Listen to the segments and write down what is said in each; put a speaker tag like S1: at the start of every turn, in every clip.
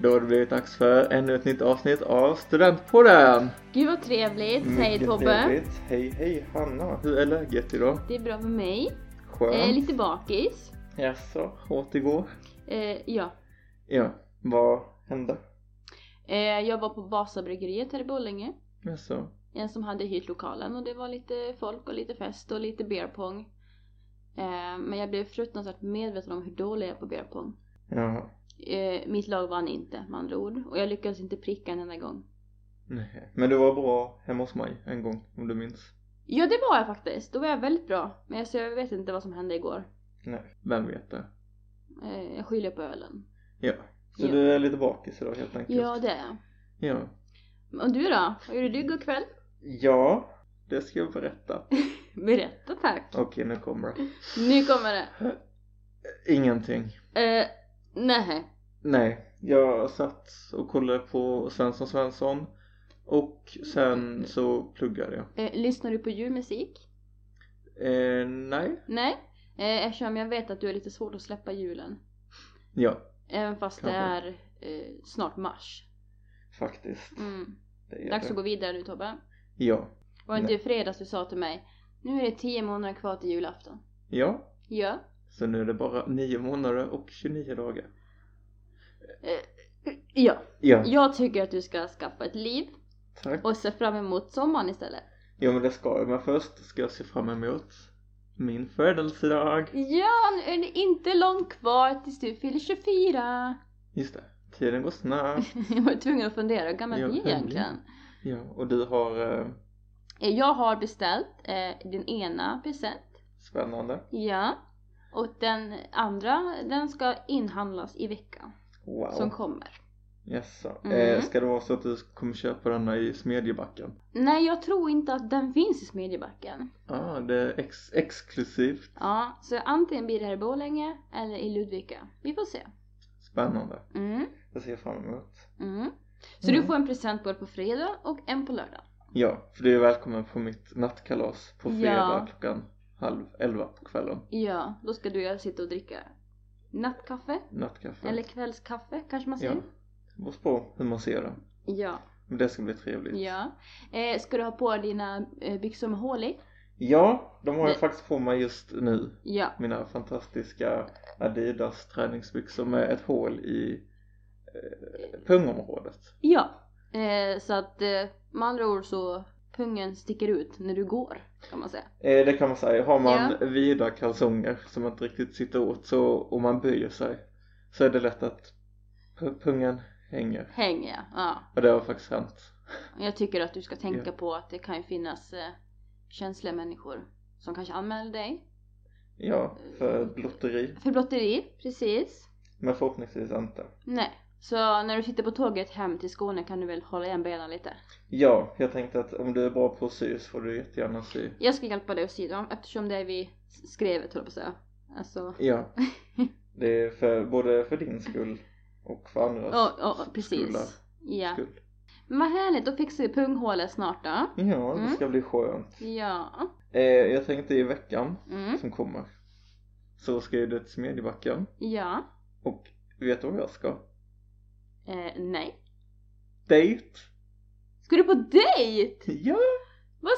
S1: Då har det blivit dags för ännu ett nytt avsnitt av Studentpodden!
S2: Gud vad trevligt, säger
S1: Mycket
S2: Tobbe.
S1: trevligt. Hej hej Hanna! Hur är läget idag?
S2: Det är bra med mig.
S1: Skönt?
S2: Eh, lite bakis.
S1: Jaså, återgå?
S2: Eh, ja.
S1: Ja, vad hände?
S2: Eh, jag var på Vasabryggeriet här i Borlänge.
S1: Jaså?
S2: En som hade hyrt lokalen och det var lite folk och lite fest och lite beerpong. Eh, men jag blev fruktansvärt medveten om hur dålig jag är på beerpong.
S1: Ja,
S2: Eh, mitt lag vann inte med andra ord och jag lyckades inte pricka en enda gång.
S1: nej. Men du var bra hemma hos mig en gång, om du minns?
S2: Ja det var jag faktiskt, då var jag väldigt bra. Men alltså, jag vet inte vad som hände igår.
S1: Nej. Vem vet det?
S2: Eh, jag skyller på ölen.
S1: Ja. Så
S2: Ja.
S1: du är lite bakis idag helt enkelt?
S2: Ja det är jag.
S1: Ja.
S2: Och du då? Vad gjorde du igår kväll?
S1: Ja, det ska jag berätta.
S2: Berätta tack.
S1: Okej, nu kommer det.
S2: Nu kommer det.
S1: Ingenting.
S2: Eh, nej.
S1: Nej, jag satt och kollade på Svensson Svensson och sen så pluggade jag.
S2: Eh, lyssnar du på julmusik?
S1: Eh, nej,
S2: Nej. Eh, eftersom jag vet att du är lite svårt att släppa julen.
S1: ja,
S2: Även fast det
S1: Kanske.
S2: är eh, snart mars.
S1: faktiskt.
S2: Mm.
S1: Det är
S2: Dags
S1: det.
S2: att gå vidare nu Tobbe.
S1: Ja,
S2: Var det inte i fredags du sa till mig Nu är det 10 månader kvar till julafton.
S1: ja.
S2: Ja.
S1: Så nu är det bara nio månader och 29 dagar.
S2: Ja.
S1: Ja,
S2: Jag tycker att du ska skaffa ett liv
S1: tack.
S2: och se fram emot sommaren istället.
S1: Ja, men det ska jag. Men först ska jag se fram emot min födelsedag.
S2: Ja, nu är det inte långt kvar tills du fyller 24.
S1: Just det, tiden går snabbt.
S2: Jag var tvungen att fundera, hur gammal
S1: Ja,
S2: vi är
S1: hur
S2: egentligen?
S1: Ja, och du har eh,
S2: Eh, Jag har beställt eh, den ena present,
S1: spännande.
S2: ja. Och den andra, den ska inhandlas i veckan
S1: Wow.
S2: som kommer.
S1: Jaså. Eh,
S2: Mm.
S1: ska det vara så att du kommer köpa denna i Smedjebacken?
S2: Nej, jag tror inte att den finns i Smedjebacken.
S1: Ja, ah, det är ex- exklusivt.
S2: Ja, så antingen blir det här i Borlänge eller i Ludvika. Vi får se.
S1: Spännande.
S2: Mm,
S1: Det ser jag fram emot.
S2: mm. Så
S1: Mm.
S2: du får en present både på fredag och en på lördag.
S1: Ja, för du är välkommen på mitt nattkalas på fredag
S2: Ja.
S1: klockan halv elva på kvällen.
S2: Ja, då ska du och jag sitta och dricka nattkaffe,
S1: Nattkaffe.
S2: eller kvällskaffe kanske man
S1: Ja.
S2: säger.
S1: Det beror på hur man ser det.
S2: Ja.
S1: Men det ska bli trevligt.
S2: Ja. Eh, ska du ha på dina eh, byxor med hål i?
S1: Ja, de har jag
S2: Det-
S1: faktiskt på mig just nu.
S2: Ja.
S1: Mina fantastiska Adidas träningsbyxor med ett hål i eh, pungområdet.
S2: Ja. Eh, så att eh, med andra ord så pungen sticker ut när du går kan man säga.
S1: Eh, det kan man säga. Har man vida kalsonger som inte riktigt sitter åt så, och man böjer sig så är det lätt att pu- pungen hänger.
S2: Hänger jag. Ja.
S1: Och det har faktiskt hänt.
S2: Jag tycker att du ska tänka
S1: Ja.
S2: på att det kan ju finnas eh, känsliga människor som kanske anmäler dig
S1: Ja, för blotteri.
S2: för blotteri. Precis.
S1: Men förhoppningsvis inte.
S2: Nej. Så när du sitter på tåget hem till Skåne kan du väl hålla igen benen lite.
S1: Ja, jag tänkte att om du är bra på att sy så får du jättegärna sy.
S2: Jag ska hjälpa dig att sy dem eftersom det är vid skrevet höll jag på att säga. Alltså,
S1: Ja. Det är för, både för din skull och för andras
S2: ja, ja,
S1: skullar.
S2: precis. Ja.
S1: skull.
S2: Men Vad härligt, då fixar vi punghålet snart då.
S1: Ja, det
S2: Mm.
S1: ska bli skönt.
S2: Ja.
S1: Eh, jag tänkte i veckan
S2: Mm.
S1: som kommer så ska jag till Smedjebacken
S2: Ja.
S1: och vet du vad jag ska?
S2: Eh, nej.
S1: Dejt!
S2: Ska du på dejt?
S1: Ja!
S2: Vad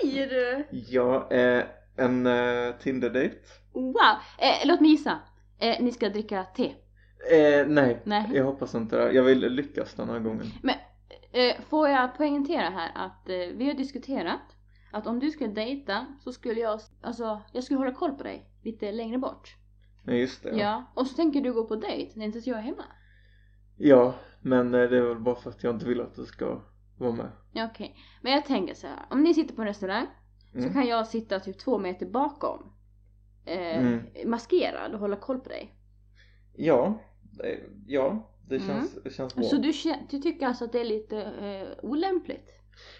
S2: säger du?
S1: Ja, eh, en eh, Tinder-dejt.
S2: Wow! Eh, låt mig gissa. Eh, ni ska dricka te?
S1: Eh, nej,
S2: Nej.
S1: jag hoppas inte det. Jag vill lyckas den här gången.
S2: Eh, får jag poängtera här att eh, vi har diskuterat att om du skulle dejta så skulle jag, alltså jag skulle hålla koll på dig lite längre bort.
S1: Nej, just det.
S2: Ja. Och så tänker du gå på dejt när inte ens jag är hemma.
S1: Ja, men eh, det är väl bara för att jag inte vill att du ska vara med.
S2: Ja, Okej. Men jag tänker så här. om ni sitter på en restaurang
S1: Mm.
S2: så kan jag sitta typ två meter bakom. Eh,
S1: Mm.
S2: Maskerad och hålla koll på dig.
S1: Ja, eh, ja, det
S2: Mm.
S1: känns, det känns bra.
S2: Så du, kä- du tycker alltså att det är lite eh, olämpligt?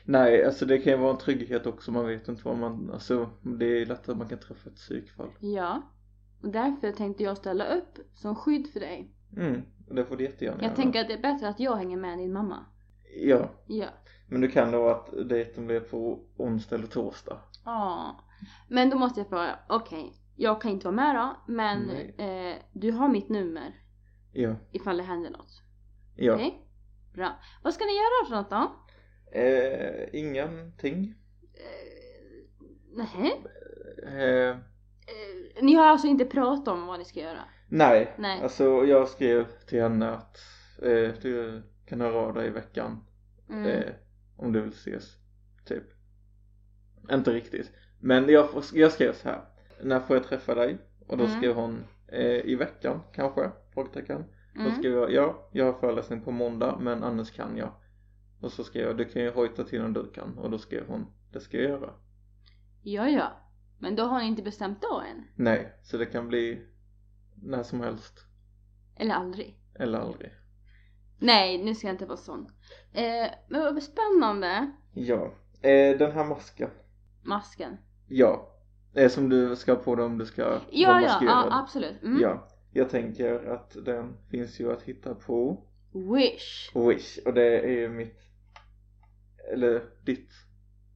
S1: Nej, alltså det kan ju vara en trygghet också. Man vet inte vad man, alltså det är lätt att man kan träffa ett psykfall.
S2: Ja. Och därför tänkte jag ställa upp som skydd för dig.
S1: Mm, och det får du jättegärna
S2: Jag
S1: göra.
S2: tänker att det är bättre att jag hänger med än din mamma.
S1: Ja,
S2: Ja.
S1: men du kan då att dejten blir på onsdag eller torsdag.
S2: Ah. Men då måste jag fråga, okej. jag kan inte vara med då, men
S1: Nej.
S2: eh, du har mitt nummer
S1: Ja,
S2: ifall det händer något.
S1: Ja.
S2: Okej? Bra. Vad ska ni göra för något då?
S1: Eh, ingenting.
S2: Eh, nej.
S1: Eh,
S2: Eh, ni har alltså inte pratat om vad ni ska göra?
S1: nej.
S2: Nej.
S1: Alltså jag skrev till henne att eh, du kan höra av dig i veckan
S2: Mm.
S1: eh, om du vill ses. Typ. Inte riktigt. Men jag, får- jag skrev så här. När får jag träffa dig? Och då
S2: Mm.
S1: skrev hon eh, i veckan kanske? Frågetecken. Då
S2: mm.
S1: skrev jag ja, jag har föreläsning på måndag men annars kan jag. Och så skrev jag du kan ju hojta till när du kan och då skrev hon det ska jag göra.
S2: Ja, ja. Men då har ni inte bestämt då än?
S1: Nej, så det kan bli när som helst
S2: Eller aldrig?
S1: eller aldrig.
S2: Nej, nu ska jag inte vara sån. Eh, men vad spännande.
S1: Ja, eh, den här masken.
S2: Masken.
S1: Ja, eh, som du ska ha på dig om du ska
S2: Ja,
S1: vara
S2: ja,
S1: maskerad.
S2: ja, absolut. Mm.
S1: Ja, jag tänker att den finns ju att hitta på
S2: Wish.
S1: Wish och det är ju mitt eller ditt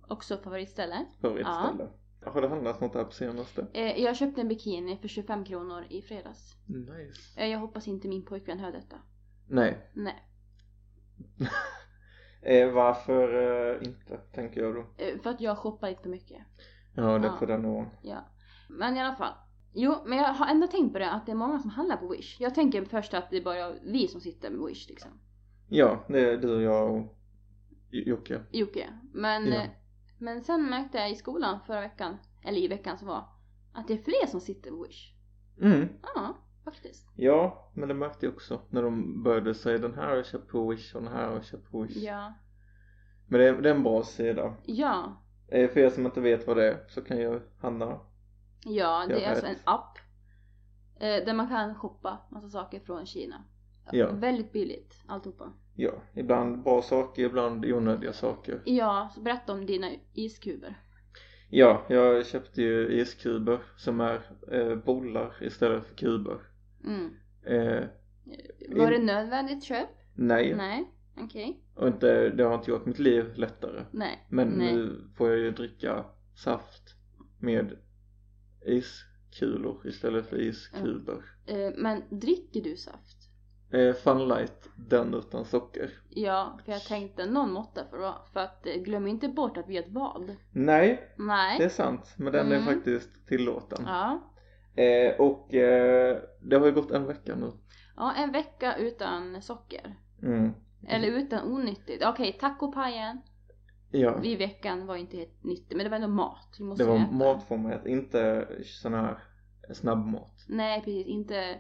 S2: Också favoritställe.
S1: favoritställe. Har det handlat något där på senaste?
S2: Eh, jag köpte en bikini för 25 kronor i fredags.
S1: Nice.
S2: Eh, jag hoppas inte min pojkvän hör detta.
S1: Nej,
S2: Nej.
S1: Eh, varför eh, inte, tänker jag då.
S2: Eh, för att jag shoppar lite för mycket.
S1: Ja, det är
S2: Ja.
S1: på den nivån.
S2: Ja. Men i alla fall. Jo, men jag har ändå tänkt på det att det är många som handlar på Wish. Jag tänker först att det är bara vi som sitter med Wish liksom.
S1: Ja, det är du, jag och J- Jocke.
S2: Jocke. Men,
S1: Ja.
S2: eh, men sen märkte jag i skolan förra veckan, eller i veckan som var, att det är fler som sitter på Wish.
S1: Mm.
S2: Ja, faktiskt.
S1: Ja, men det märkte jag också när de började säga den här har jag köpt på Wish och den här har jag köpt på Wish.
S2: Ja.
S1: Men det är, det är en bra sida.
S2: Ja.
S1: Eh, för er som inte vet vad det är så kan jag handla.
S2: Ja, det
S1: Jag
S2: är alltså en
S1: vet.
S2: app. eh, Där man kan shoppa massa saker från Kina.
S1: Ja.
S2: Väldigt billigt, alltihopa.
S1: Ja, ibland bra saker, ibland onödiga saker.
S2: Ja, så berätta om dina iskuber.
S1: Ja, jag köpte ju iskuber som är eh, bollar istället för kuber.
S2: Mm.
S1: Eh,
S2: Var det nödvändigt köp?
S1: nej.
S2: Nej. Okej.
S1: och inte, det har inte gjort mitt liv lättare.
S2: Nej.
S1: Men
S2: Nej.
S1: nu får jag ju dricka saft med iskulor istället för iskuber.
S2: Eh, Men dricker du saft?
S1: Eh, funlight, den utan socker.
S2: Ja, för jag tänkte någon måtta för att, för att eh, glöm inte bort att vi är ett vad.
S1: Nej,
S2: Nej.
S1: det är sant, men den är
S2: Mm.
S1: faktiskt tillåten.
S2: Ja.
S1: Eh, och eh, det har ju gått en vecka nu.
S2: ja, en vecka utan socker.
S1: Mm.
S2: Eller utan onyttigt. Okej, tacopajen
S1: Ja,
S2: i veckan var inte helt nyttig, men det var ändå mat. Vi måste
S1: det var
S2: äta.
S1: matformat, inte sån här snabbmat.
S2: Nej, precis. Inte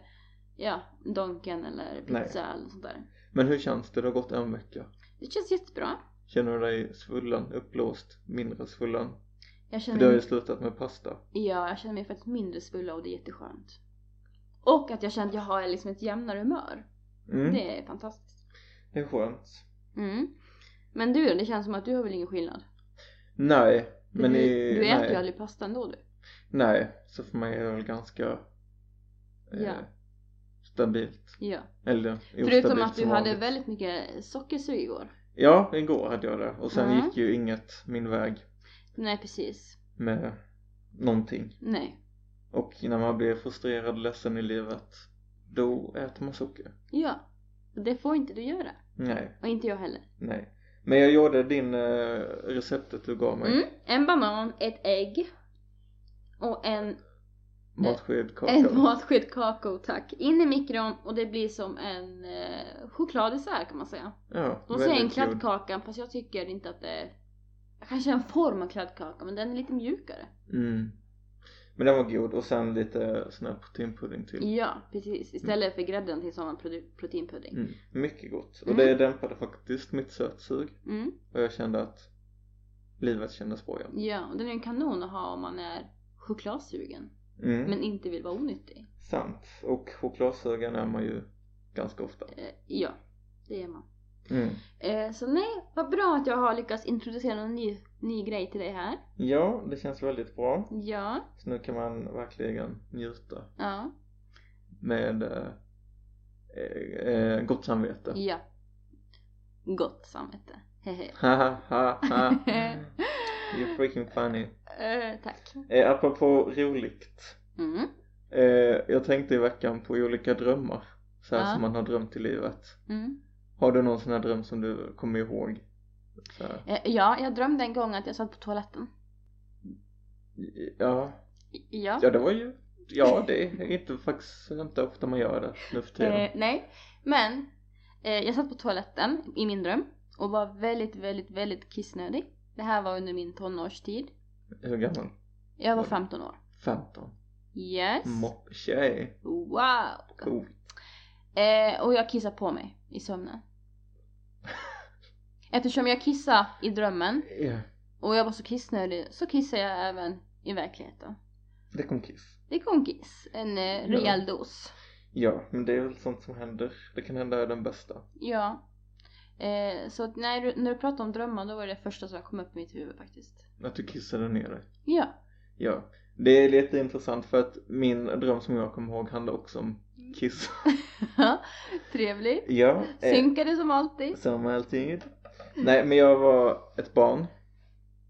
S2: ja, Donken eller pizza eller sånt där.
S1: Men hur känns det? Det har gått en vecka.
S2: Det känns jättebra.
S1: Känner du dig svullen, uppblåst, mindre svullen? För
S2: Jag känner
S1: du har ju
S2: mig,
S1: slutat med pasta.
S2: ja, jag känner mig faktiskt mindre svulla och det är jätteskönt. Och att jag känner att jag har liksom ett jämnare humör.
S1: Mm,
S2: Det är fantastiskt.
S1: det är skönt.
S2: Mm. Men du då, det känns som att du har väl ingen skillnad?
S1: Nej,
S2: För
S1: men
S2: du,
S1: i,
S2: du äter ju
S1: nej,
S2: aldrig pasta ändå du.
S1: nej, så för mig är det väl ganska eh,
S2: Ja.
S1: stabilt.
S2: Ja.
S1: Eller ostabilt
S2: Förutom att du
S1: som
S2: hade
S1: vanligt.
S2: väldigt mycket sockersug igår.
S1: Ja, igår hade jag det och sen
S2: Mm.
S1: gick ju inget min väg
S2: Nej precis.
S1: med någonting.
S2: Nej.
S1: Och när man blir frustrerad och ledsen i livet då äter man socker.
S2: Ja. Det får inte du göra.
S1: Nej,
S2: Och inte jag heller.
S1: nej. Men jag gjorde din eh, receptet du gav mig.
S2: Mm. En banan, ett ägg och en,
S1: Matsked kakao.
S2: en matsked kakao tack. In i mikron och det blir som en eh, chokladdessert kan man säga.
S1: Ja,
S2: De säger en
S1: väldigt god.
S2: kladdkaka fast jag tycker inte att det är Kanske en form av kladdkaka men den är lite mjukare.
S1: Mm. Men den var god och sen lite sån här proteinpudding till.
S2: Ja precis, istället för grädden till sån produ- proteinpudding.
S1: Mm. Mycket gott. Och
S2: Mm.
S1: det dämpade faktiskt mitt sötsug
S2: Mm.
S1: och jag kände att livet kändes bra igen.
S2: Ja, och den är en kanon att ha om man är chokladsugen
S1: Mm.
S2: men inte vill vara onyttig.
S1: Sant. Och chokladsugen är man ju ganska ofta.
S2: Eh, ja, det är man.
S1: Mm.
S2: Eh, så nej, vad bra att jag har lyckats introducera någon ny, ny grej till dig här.
S1: Ja, det känns väldigt bra.
S2: Ja,
S1: Så nu kan man verkligen njuta
S2: ja,
S1: med eh, eh, eh, gott samvete.
S2: ja. Gott samvete. Hehe.
S1: Ha ha ha ha. You're freaking funny.
S2: eh, tack.
S1: Eh, apropå roligt.
S2: Mm,
S1: Eh, jag tänkte i veckan på olika drömmar. Så här
S2: Ja.
S1: som man har drömt i livet.
S2: mm,
S1: Har du någon sån här dröm som du kommer ihåg? Så här,
S2: Eh, Ja, jag drömde en gång att jag satt på toaletten.
S1: ja,
S2: Ja.
S1: ja det var ju, ja det är inte faktiskt inte ofta man gör det nu för tiden.
S2: Eh, nej, men eh, jag satt på toaletten i min dröm och var väldigt, väldigt, väldigt kissnödig. Det här var under min tonårstid.
S1: Hur gammal?
S2: Jag var
S1: Oj.
S2: 15 år.
S1: 15.
S2: Yes.
S1: Moppetjej.
S2: Wow.
S1: Cool.
S2: Eh, och jag kissade på mig i sömnen. Eftersom jag kissade i drömmen
S1: Ja,
S2: och jag var så kissnödig så kissade jag även i verkligheten.
S1: det kom kiss.
S2: Det kom kiss. En eh,
S1: Ja.
S2: rejäl dos.
S1: Ja, men det är väl sånt som händer. Det kan hända den bästa.
S2: Ja. Eh, så att när, du- när du pratade om drömmar då var det första som kom upp i mitt huvud faktiskt.
S1: Att du kissade ner dig.
S2: Ja.
S1: Ja, det är lite intressant för att min dröm som jag kommer ihåg handlar också om kiss.
S2: Trevligt.
S1: ja, eh,
S2: Synkade som alltid.
S1: som alltid. Nej, men jag var ett barn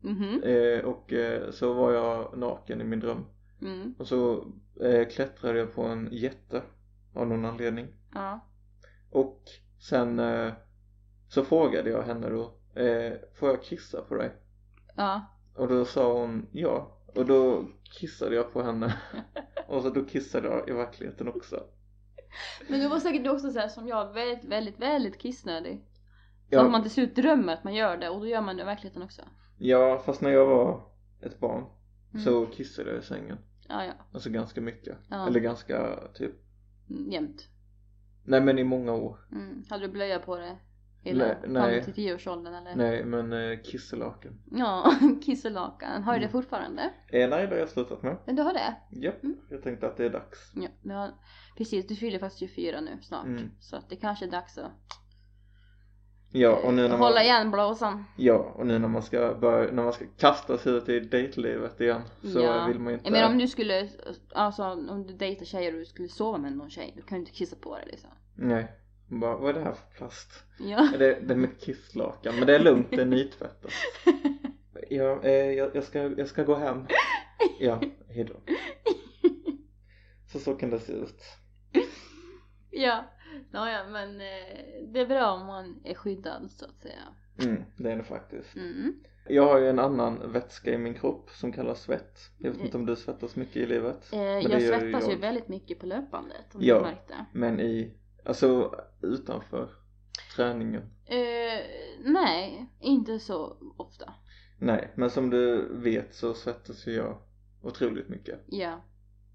S2: Mhm.
S1: eh, och eh, så var jag naken i min dröm.
S2: Mm.
S1: Och så eh, klättrade jag på en jätte av någon anledning.
S2: Ja.
S1: Och sen eh, så frågade jag henne då, eh, får jag kissa på dig?
S2: Ja.
S1: Och då sa hon ja. Och då kissade jag på henne. och så då kissade jag i verkligheten också.
S2: Men du var säkert också så här som jag, väldigt, väldigt, väldigt kissnödig. Så
S1: Ja.
S2: att man till slut drömmer att man gör det och då gör man det i verkligheten också.
S1: Ja, fast när jag var ett barn
S2: Mm.
S1: så kissade jag i sängen.
S2: Ja, ja.
S1: Alltså ganska mycket.
S2: Ja.
S1: Eller ganska typ,
S2: Mm, Jämt.
S1: nej men i många år.
S2: Mm. Hade du blöja på det?
S1: Nej,
S2: Hela
S1: nej.
S2: fram till 10-årsåldern eller?
S1: Nej men eh, kisselaken.
S2: Ja, kiss och lakan. Har du det
S1: Mm.
S2: fortfarande?
S1: Eh, nej, det har jag slutat med.
S2: Men du har det?
S1: Japp,
S2: Mm.
S1: jag tänkte att det är dags.
S2: Ja, du har... precis. Du fyller faktiskt 24 nu snart.
S1: Mm.
S2: Så att det kanske är dags att
S1: Ja, och nu när man,
S2: hålla igen blåsan.
S1: ja, och nu när man ska börja, när man ska kasta sig ut i dejtlivet igen så
S2: Ja.
S1: vill man ju inte.
S2: Jag menar om du skulle, alltså om du dejtar tjejer och du skulle sova med någon tjej, då kan du inte kissa på dig liksom.
S1: Nej. Man Bara, vad är det här för plast?
S2: Ja.
S1: Ja, Det, det är med kisslakan, men det är lugnt, det är nytvättat. Ja, eh, jag, jag, ska, jag ska gå hem. Ja, hejdå. Så så kan det se ut.
S2: ja. Nåja, men eh, det är bra om man är skyddad så att säga.
S1: Mm, det är det faktiskt.
S2: Mm.
S1: Jag har ju en annan vätska i min kropp som kallas svett. Jag vet inte om du svettas mycket i livet.
S2: Eh,
S1: det
S2: jag
S1: gör ju
S2: svettas ju
S1: jag.
S2: väldigt mycket på löpbandet om
S1: Ja.
S2: du märkte.
S1: Men i, alltså utanför träningen.
S2: Eh, nej, inte så ofta.
S1: Nej, men som du vet så svettas ju jag otroligt mycket.
S2: Ja.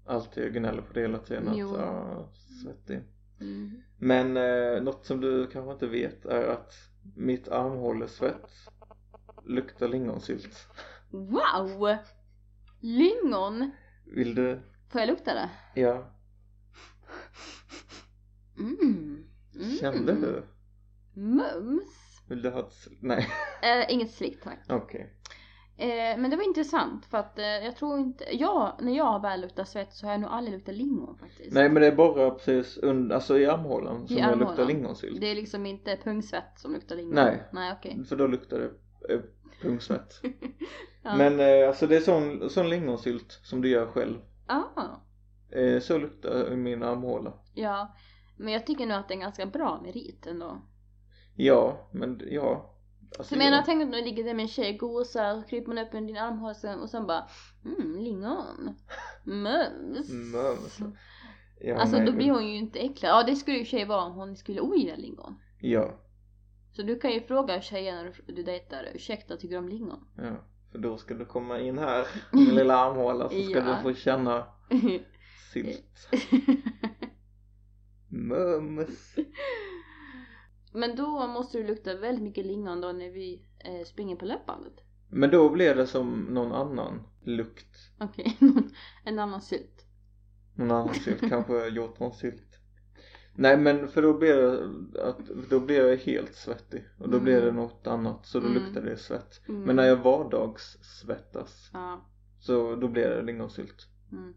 S1: Alltid, jag gnäller på det hela tiden att
S2: Jo.
S1: jag svettig.
S2: Mm.
S1: Men eh, något som du kanske inte vet är att mitt armhålesvett luktar lingonsylt.
S2: Wow! Lingon!
S1: Vill du?
S2: Får jag lukta det?
S1: Ja,
S2: Mm. Mm.
S1: kände du?
S2: Mums!
S1: Vill du ha ett... sl- Nej,
S2: Eh, inget slick tack.
S1: okej.
S2: Eh, men det var intressant för att eh, jag tror inte, jag, när jag väl luktar svett så har jag nog aldrig luktat lingon faktiskt.
S1: Nej men det är bara precis under, alltså i armhålan som jag
S2: armhålan.
S1: luktar lingonsylt.
S2: Det är liksom inte pungsvett som luktar lingon.
S1: Nej.
S2: Nej okej.
S1: För då luktar det eh, pungsvett.
S2: Ja.
S1: Men eh, alltså det är sån, sån lingonsylt som du gör själv.
S2: Ah,
S1: Eh, så luktar min armhåla.
S2: ja. Men jag tycker nog att det är en ganska bra merit ändå.
S1: Ja, men ja.
S2: Så
S1: Alltså,
S2: jag menar,
S1: ja.
S2: tänk om du ligger där med en tjej och gosar och kryper man upp under din armhåla sen- och sen bara mm, lingon. Mums.
S1: Mums. Ja,
S2: Alltså
S1: nej,
S2: då blir
S1: men-
S2: hon ju inte äcklad. Ja det skulle ju i och för sig vara om hon skulle ogilla lingon.
S1: Ja,
S2: Så du kan ju fråga tjejerna du, du dejtar, ursäkta tycker du om lingon?
S1: ja. För då ska du komma in här, min lilla armhåla, så ska
S2: Ja.
S1: du få känna sylt. Mums.
S2: Men då måste du lukta väldigt mycket lingon då när vi eh, springer på löpbandet.
S1: Men då blir det som någon annan lukt.
S2: Okej, en annan sylt.
S1: Någon annan sylt, kanske hjortronsylt. Nej men för då blir det att, då blir jag helt svettig och då
S2: Mm.
S1: blir det något annat så då
S2: Mm.
S1: luktar det svett.
S2: Mm.
S1: Men när jag vardagssvettas
S2: Ja.
S1: så då blir det lingonsylt.
S2: Mm.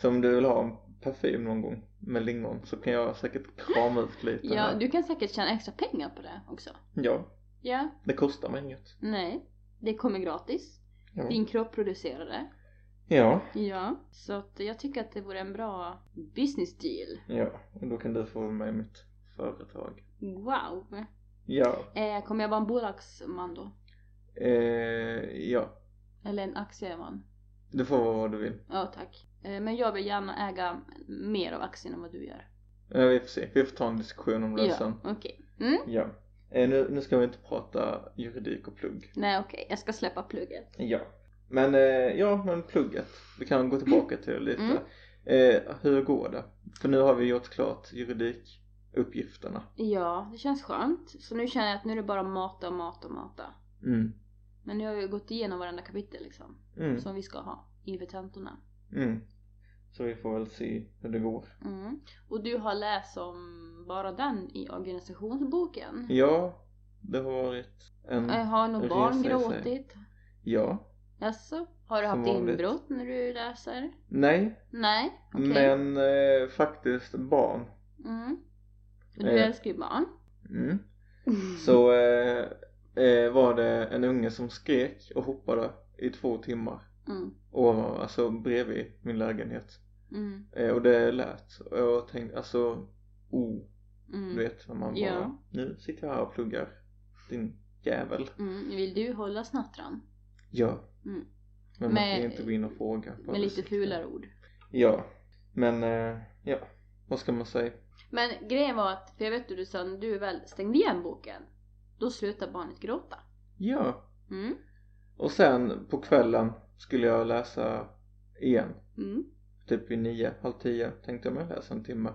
S1: Så om du vill ha en parfym någon gång med lingon så kan jag säkert krama ut lite
S2: ja,
S1: här.
S2: du kan säkert tjäna extra pengar på det också.
S1: ja,
S2: Ja.
S1: det kostar mig inget.
S2: Nej. Det kommer gratis.
S1: Ja.
S2: Din kropp producerar det.
S1: ja,
S2: Ja. Så att jag tycker att det vore en bra business deal.
S1: ja, och då kan du få med mitt företag.
S2: Wow!
S1: Ja,
S2: Eh, kommer jag vara en bolagsman då?
S1: eh, ja.
S2: Eller en aktieman?
S1: Du får vara vad du vill.
S2: Ja, tack. Eh, men jag vill gärna äga mer av aktien än vad du gör.
S1: Eh, vi får se, vi får ta en diskussion om det sen.
S2: Ja, okej.
S1: Ja. Eh, nu, nu ska vi inte prata juridik och plugg.
S2: Nej, okej. Jag ska släppa plugget.
S1: Ja. Men, eh, ja men plugget. Vi kan gå tillbaka till det lite.
S2: Mm.
S1: Eh, hur går det? För nu har vi gjort klart juridikuppgifterna.
S2: Ja, det känns skönt. Så nu känner jag att nu är det bara mata, mata, mata.
S1: Mm.
S2: Men nu har vi gått igenom varenda kapitel liksom.
S1: Mm.
S2: Som vi ska ha inför tentorna.
S1: Mm. Så vi får väl se hur det går.
S2: Mm. Och du har läst om bara den i organisationsboken.
S1: Ja, det har varit en...
S2: Eh, Har nog
S1: Resa
S2: barn
S1: i sig.
S2: gråtit?
S1: Ja.
S2: Jaså? Har du
S1: Som
S2: haft
S1: vanligt.
S2: inbrott när du läser?
S1: Nej,
S2: Nej, okej.
S1: men eh, faktiskt barn.
S2: Mm. Du
S1: Eh.
S2: älskar ju barn.
S1: Mm. Så eh, eh, var det en unge som skrek och hoppade i två timmar.
S2: Mm.
S1: Ovan, alltså bredvid min lägenhet.
S2: Mm.
S1: Eh, och det lät. Och jag tänkte, alltså, oh,
S2: Mm.
S1: du vet när man bara,
S2: Ja.
S1: nu sitter jag här och pluggar. Din jävel.
S2: Mm. Vill du hålla snattran?
S1: Ja.
S2: Mm.
S1: Men man
S2: Med-
S1: kan ju inte gå in och fråga. på
S2: Med lite
S1: ursäkta.
S2: fulare ord.
S1: Ja, men eh, ja, vad ska man säga?
S2: Men grejen var att, för jag vet hur du sa, när du väl stängde igen boken, då slutade barnet gråta.
S1: Ja,
S2: Mm.
S1: och sen på kvällen skulle jag läsa igen.
S2: Mm.
S1: Typ vid nio, halv tio tänkte jag mig läsa en timme.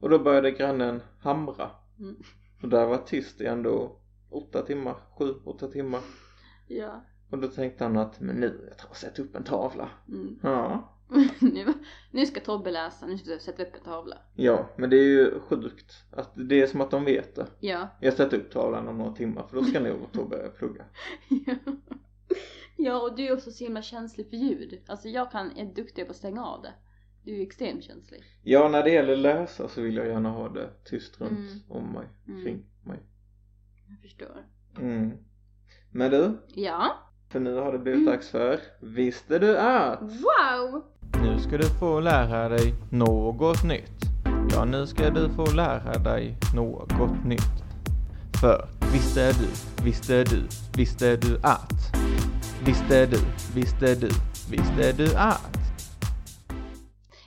S1: Och då började grannen hamra.
S2: Mm.
S1: Och där var tyst i ändå åtta timmar, sju, åtta timmar.
S2: Ja.
S1: Och då tänkte han att, men nu, jag tar och sätter upp en tavla.
S2: Mm.
S1: Ja,
S2: nu, nu ska Tobbe läsa, nu ska jag sätta upp en tavla.
S1: ja, men det är ju sjukt att det är som att de vet det.
S2: Ja.
S1: Jag sätter upp tavlan om några timmar för då ska nog Tobbe plugga.
S2: Ja. ja, och du är också så himla känslig för ljud. Alltså jag kan, är duktig på att stänga av det. Du är extremt känslig.
S1: Ja, när det gäller läsa så vill jag gärna ha det tyst runt
S2: Mm.
S1: om mig,
S2: Mm.
S1: kring mig.
S2: Jag förstår.
S1: Mm. Men du,
S2: Ja.
S1: för nu har det blivit
S2: Mm.
S1: dags för Visste du att?
S2: Wow!
S1: Nu ska du få lära dig något nytt. Ja, nu ska du få lära dig något nytt. För visste du, visste du, visste du att? Visste du, visste du, visste du att?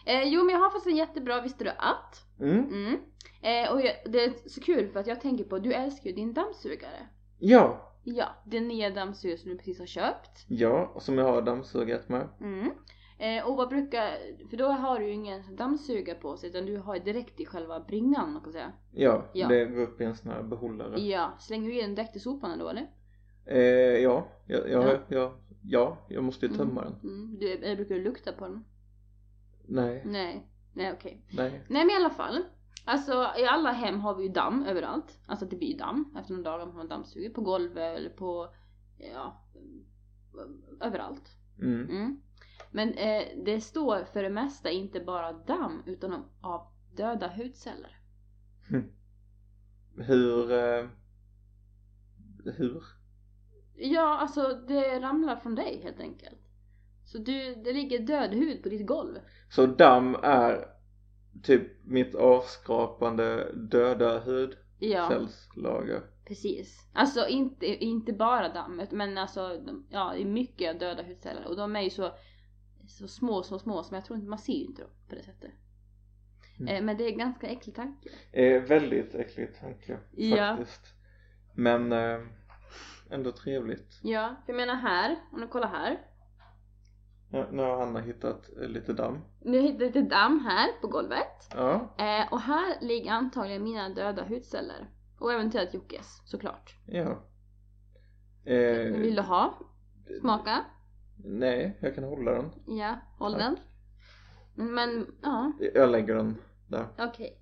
S2: Eh, jo, men jag har faktiskt en jättebra Visste du att?
S1: Mm.
S2: Mm. Eh, och jag, det är så kul för att jag tänker på, du älskar ju din dammsugare.
S1: Ja,
S2: Ja, den nya dammsugare som du precis har köpt.
S1: ja, och som jag har dammsugit med.
S2: Mm. Eh, och vad brukar, för då har du ju ingen dammsugare på sig utan du har ju direkt i själva bringan man kan säga.
S1: Ja,
S2: Ja.
S1: det går upp i en sån här behållare.
S2: Ja, slänger du i den direkt i sopan då eller?
S1: Eh, ja, ja, ja,
S2: Ja.
S1: ja. ja, jag måste ju tömma den.
S2: Mm, du, eller brukar du lukta på den?
S1: Nej,
S2: Nej, nej okej.
S1: nej.
S2: Nej men i alla fall. Alltså i alla hem har vi ju damm överallt. Alltså det blir ju damm efter några dagar man har dammsugit. På golvet eller på, ja, mm, överallt.
S1: Mm.
S2: Mm. Men eh, det står för det mesta inte bara damm utan av döda hudceller.
S1: Hur, eh, hur?
S2: Ja, alltså det ramlar från dig helt enkelt. Så du, det ligger död hud på ditt golv.
S1: Så damm är typ mitt avskrapande döda
S2: Ja.
S1: hudcellslager?
S2: Precis. Alltså inte, inte bara dammet men alltså de, ja, det är mycket döda hudceller och de är ju så, så små, så små så jag tror inte man ser ju inte dem på det sättet.
S1: Mm.
S2: Eh, men det är ganska äcklig tanke.
S1: Eh, väldigt äcklig tanke
S2: Ja.
S1: faktiskt. Men eh, ändå trevligt.
S2: Ja, för jag menar här, om du kollar här.
S1: Ja, nu har Hanna hittat eh, lite damm.
S2: Nu hittade jag lite damm här på golvet.
S1: Ja,
S2: Eh, och här ligger antagligen mina döda hudceller. Och eventuellt Jockes, såklart.
S1: ja.
S2: Vill
S1: Eh,
S2: du ha? Smaka?
S1: nej, jag kan hålla den.
S2: Ja, håll
S1: Tack.
S2: den. Men, ja,
S1: Jag lägger den där.
S2: okej.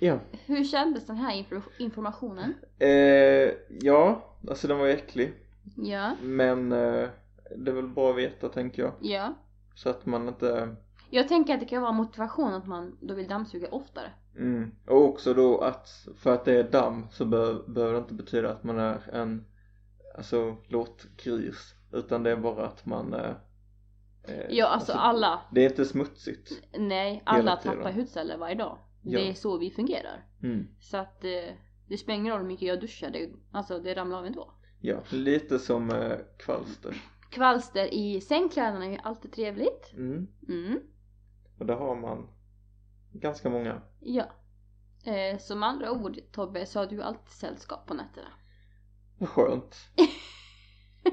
S1: Ja.
S2: Hur kändes den här infor- informationen?
S1: Eh, ja, alltså den var ju äcklig.
S2: Ja.
S1: Men eh, det är väl bra att veta tänker jag.
S2: Ja.
S1: Så att man inte...
S2: Jag tänker att det kan vara motivation att man då vill dammsuga oftare.
S1: Mm. Och också då att för att det är damm så be- behöver det inte betyda att man är en alltså låtgris. Utan det är bara att man... Eh, eh,
S2: Ja, alltså alla,
S1: Det är inte smutsigt.
S2: nej,
S1: Eh, Hela
S2: alla
S1: tiden.
S2: tappar hudceller varje dag.
S1: Ja.
S2: Det är så vi fungerar.
S1: Mm.
S2: Så att eh, det spelar ingen roll hur mycket jag duschar, det, alltså det ramlar av ändå.
S1: Ja, lite som eh, kvalster.
S2: Kvalster i sängkläderna är ju alltid trevligt.
S1: Mm.
S2: Mm,
S1: Och där har man ganska många.
S2: ja. Eh, som andra ord Tobbe, så har du alltid sällskap på nätterna.
S1: Vad Skönt.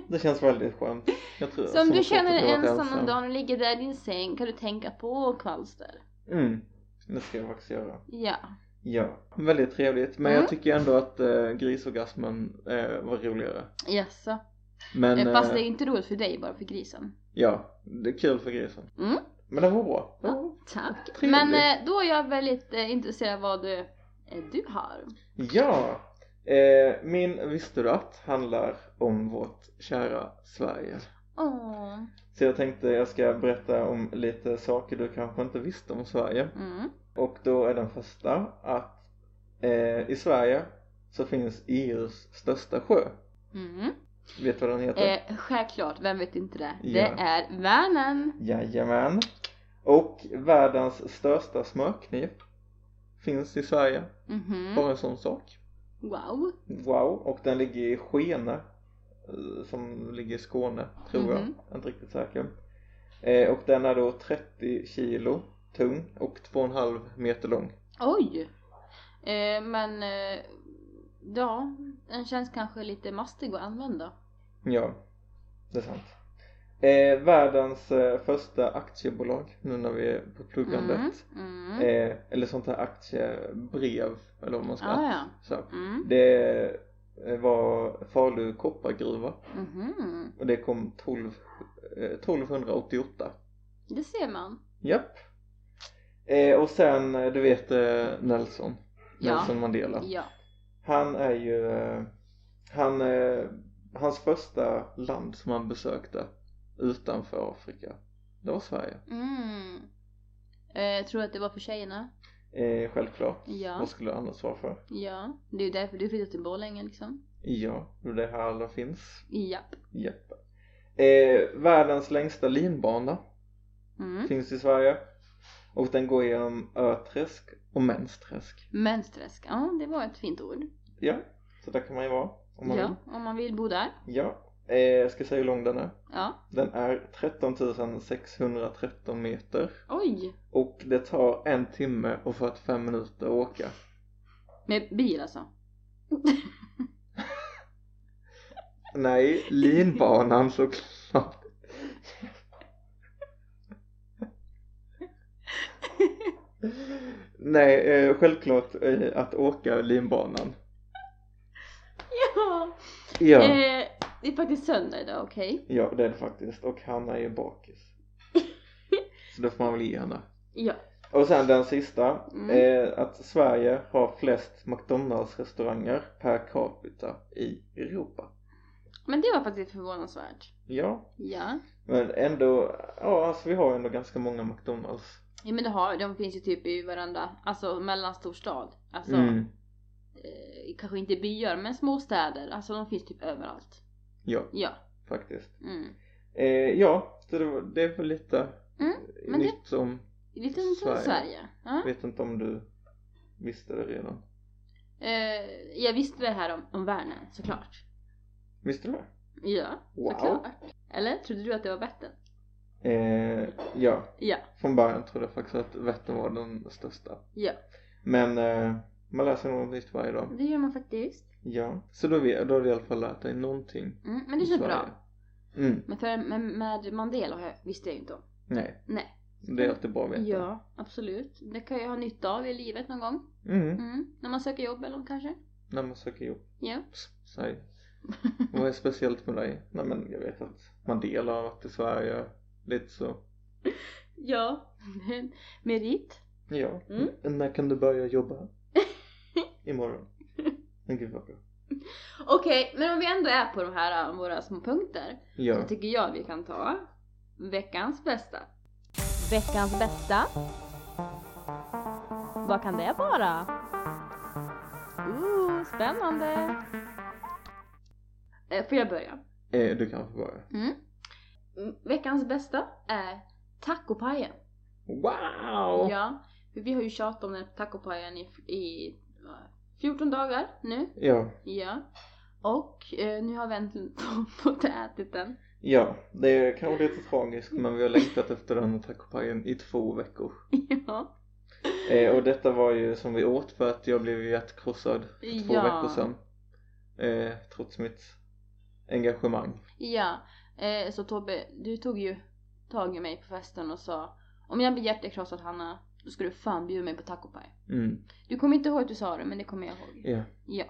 S1: Det känns väldigt skönt. Jag tror
S2: Så om du
S1: jag
S2: känner dig
S1: säkert har varit
S2: ensam om dagen och ligger där i din säng kan du tänka på kvalster.
S1: Mm, det ska jag faktiskt göra.
S2: Ja.
S1: Ja, väldigt trevligt. Men
S2: Mm.
S1: jag tycker ändå att eh, grisorgasmen eh, var roligare.
S2: Jaså.
S1: Men,
S2: Eh, Fast det är
S1: eh,
S2: ju inte roligt för dig bara för grisen.
S1: ja, det är kul för grisen.
S2: Mm.
S1: Men det var bra. Det
S2: Ja.
S1: var-
S2: Tack.
S1: Trevligt.
S2: Men eh, då är jag väldigt eh, intresserad av vad eh, du har.
S1: Ja, eh, min Visste du att handlar om vårt kära Sverige.
S2: Åh.
S1: Så jag tänkte jag ska berätta om lite saker du kanske inte visste om Sverige.
S2: Mm.
S1: Och då är den första att eh, i Sverige så finns EUs största sjö.
S2: Mm.
S1: Vet du vad den heter?
S2: Eh, självklart, vem vet inte det?
S1: Ja.
S2: Det är Vänern.
S1: Jajamän. Och världens största smörkniv finns i Sverige.
S2: Mhm.
S1: Bara en sån sak.
S2: Wow.
S1: Wow. Och den ligger i Skene. eh, Som ligger i Skåne, tror jag.
S2: Mhm.
S1: Inte riktigt säker. Eh, och den är då 30 kilo tung och 2,5 meter lång.
S2: Oj. Eh, men eh, ja, den känns kanske lite mastig att använda.
S1: Ja, det är sant. Eh, världens eh, första aktiebolag nu när vi är på pluggandet.
S2: Mm. Mm.
S1: Eh, eller sånt här aktiebrev eller vad man ska
S2: Ah, ja.
S1: så.
S2: Mm.
S1: Det eh, var Falu koppargruva
S2: Mhm.
S1: och det kom 12, eh, 1288.
S2: Det ser man.
S1: Japp. Eh, och sen, eh, du vet eh, Nelson.
S2: Ja.
S1: Nelson Mandela.
S2: Ja.
S1: Han är ju, eh, han, eh, hans första land som han besökte utanför Afrika, det var Sverige.
S2: Mm. Eh, jag tror att det var för tjejerna.
S1: Eh, självklart.
S2: Ja.
S1: Vad skulle det annars vara för?
S2: Ja. Det är ju därför du flyttade till Borlänge liksom.
S1: Ja, det är det här alla finns.
S2: Japp.
S1: Japp. Eh, världens längsta linbana
S2: Mm.
S1: finns i Sverige och den går genom Öträsk och Mänsträsk.
S2: Mönsträsk. Ja, det var ett fint ord.
S1: Ja, så där kan man ju vara om man
S2: ja, om man vill bo där.
S1: vill. Ja. Eh, jag ska säga hur lång den är.
S2: Ja.
S1: Den är 13 613 meter
S2: Oj.
S1: och det tar en timme och 45 minuter att åka.
S2: Med bil alltså.
S1: Nej, linbanan såklart. Nej, eh, självklart eh, att åka linbanan.
S2: Ja.
S1: Ja.
S2: Eh, det är faktiskt söndag idag, okej?
S1: Ja, det är det faktiskt. Och han är ju bakis. Så det får man väl ge henne.
S2: Ja.
S1: Och sen den sista.
S2: Mm.
S1: Eh, att Sverige har flest McDonalds-restauranger per capita i Europa.
S2: Men det var faktiskt förvånansvärt.
S1: Ja,
S2: Ja.
S1: men ändå. Ja, alltså vi har ändå ganska många McDonalds.
S2: Ja men det har, de finns ju typ i varandra, alltså mellanstor stad. Alltså,
S1: Mm.
S2: eh, kanske inte byar men små städer. Alltså de finns typ överallt.
S1: Ja,
S2: Ja.
S1: faktiskt.
S2: Mm.
S1: Eh, ja, så det, var- det är väl lite
S2: Mm, men det-
S1: nytt om.
S2: Lite om
S1: Sverige.
S2: Sverige. Sverige. Ja.
S1: Vet inte om du visste det redan.
S2: Eh, jag visste det här om, om Värnen, såklart.
S1: Visste du det?
S2: Ja,
S1: Wow.
S2: såklart. Eller? Trodde du att det var Vättern?
S1: Eh, ja,
S2: Ja.
S1: Från början trodde jag faktiskt att Vättern var den största.
S2: Ja.
S1: Men eh, man läser något nytt varje dag.
S2: Det gör man faktiskt.
S1: Ja. Så då, vi, då har du i alla fall lärt dig någonting.
S2: Mm, men det
S1: om
S2: känns
S1: Sverige.
S2: bra.
S1: Mm.
S2: Men för, med, med Mandela har jag- visste jag ju inte om.
S1: Nej.
S2: Nej.
S1: Det är alltid bra att veta.
S2: Ja, absolut. Det kan jag ha nytta av i livet någon gång.
S1: Mm.
S2: Mm. När man söker jobb eller något kanske.
S1: När man söker jobb.
S2: Ja.
S1: Psst, Säg. Vad är speciellt med dig? Nej men jag vet att Mandela har varit i Sverige. Lite så.
S2: Ja, men merit.
S1: Ja.
S2: Mm.
S1: Men När kan du börja jobba? Imorgon. Men gud vad bra.
S2: Okej, men om vi ändå är på de här äh, våra små punkter. Så
S1: Ja.
S2: tycker jag vi kan ta veckans bästa. Veckans bästa? Vad kan det vara? Ooh, spännande! Eh, får jag börja?
S1: Eh, du kan få börja.
S2: Mm, Veckans bästa är tacopajen.
S1: Wow!
S2: Ja, För vi har ju tjatat om den här tacopajen i, i vad, 14 dagar nu.
S1: Ja,
S2: Ja. Och eh, nu har vi äntligen fått ätit den.
S1: ja, det är kanske lite tragiskt men vi har längtat efter den här tacopajen i två veckor.
S2: Ja.
S1: Eh, och detta var ju som vi åt för att jag blev ju hjärtkrossad för två
S2: Ja.
S1: veckor sedan. Eh, trots mitt engagemang.
S2: Ja. Eh, så Tobbe, du tog ju tag i mig på festen och sa om jag blir hjärtekrossad Hanna, då ska du fan bjuda mig på tacopaj.
S1: Mm,
S2: Du kommer inte ihåg att du sa det, men det kommer jag ihåg.
S1: ja.
S2: Ja.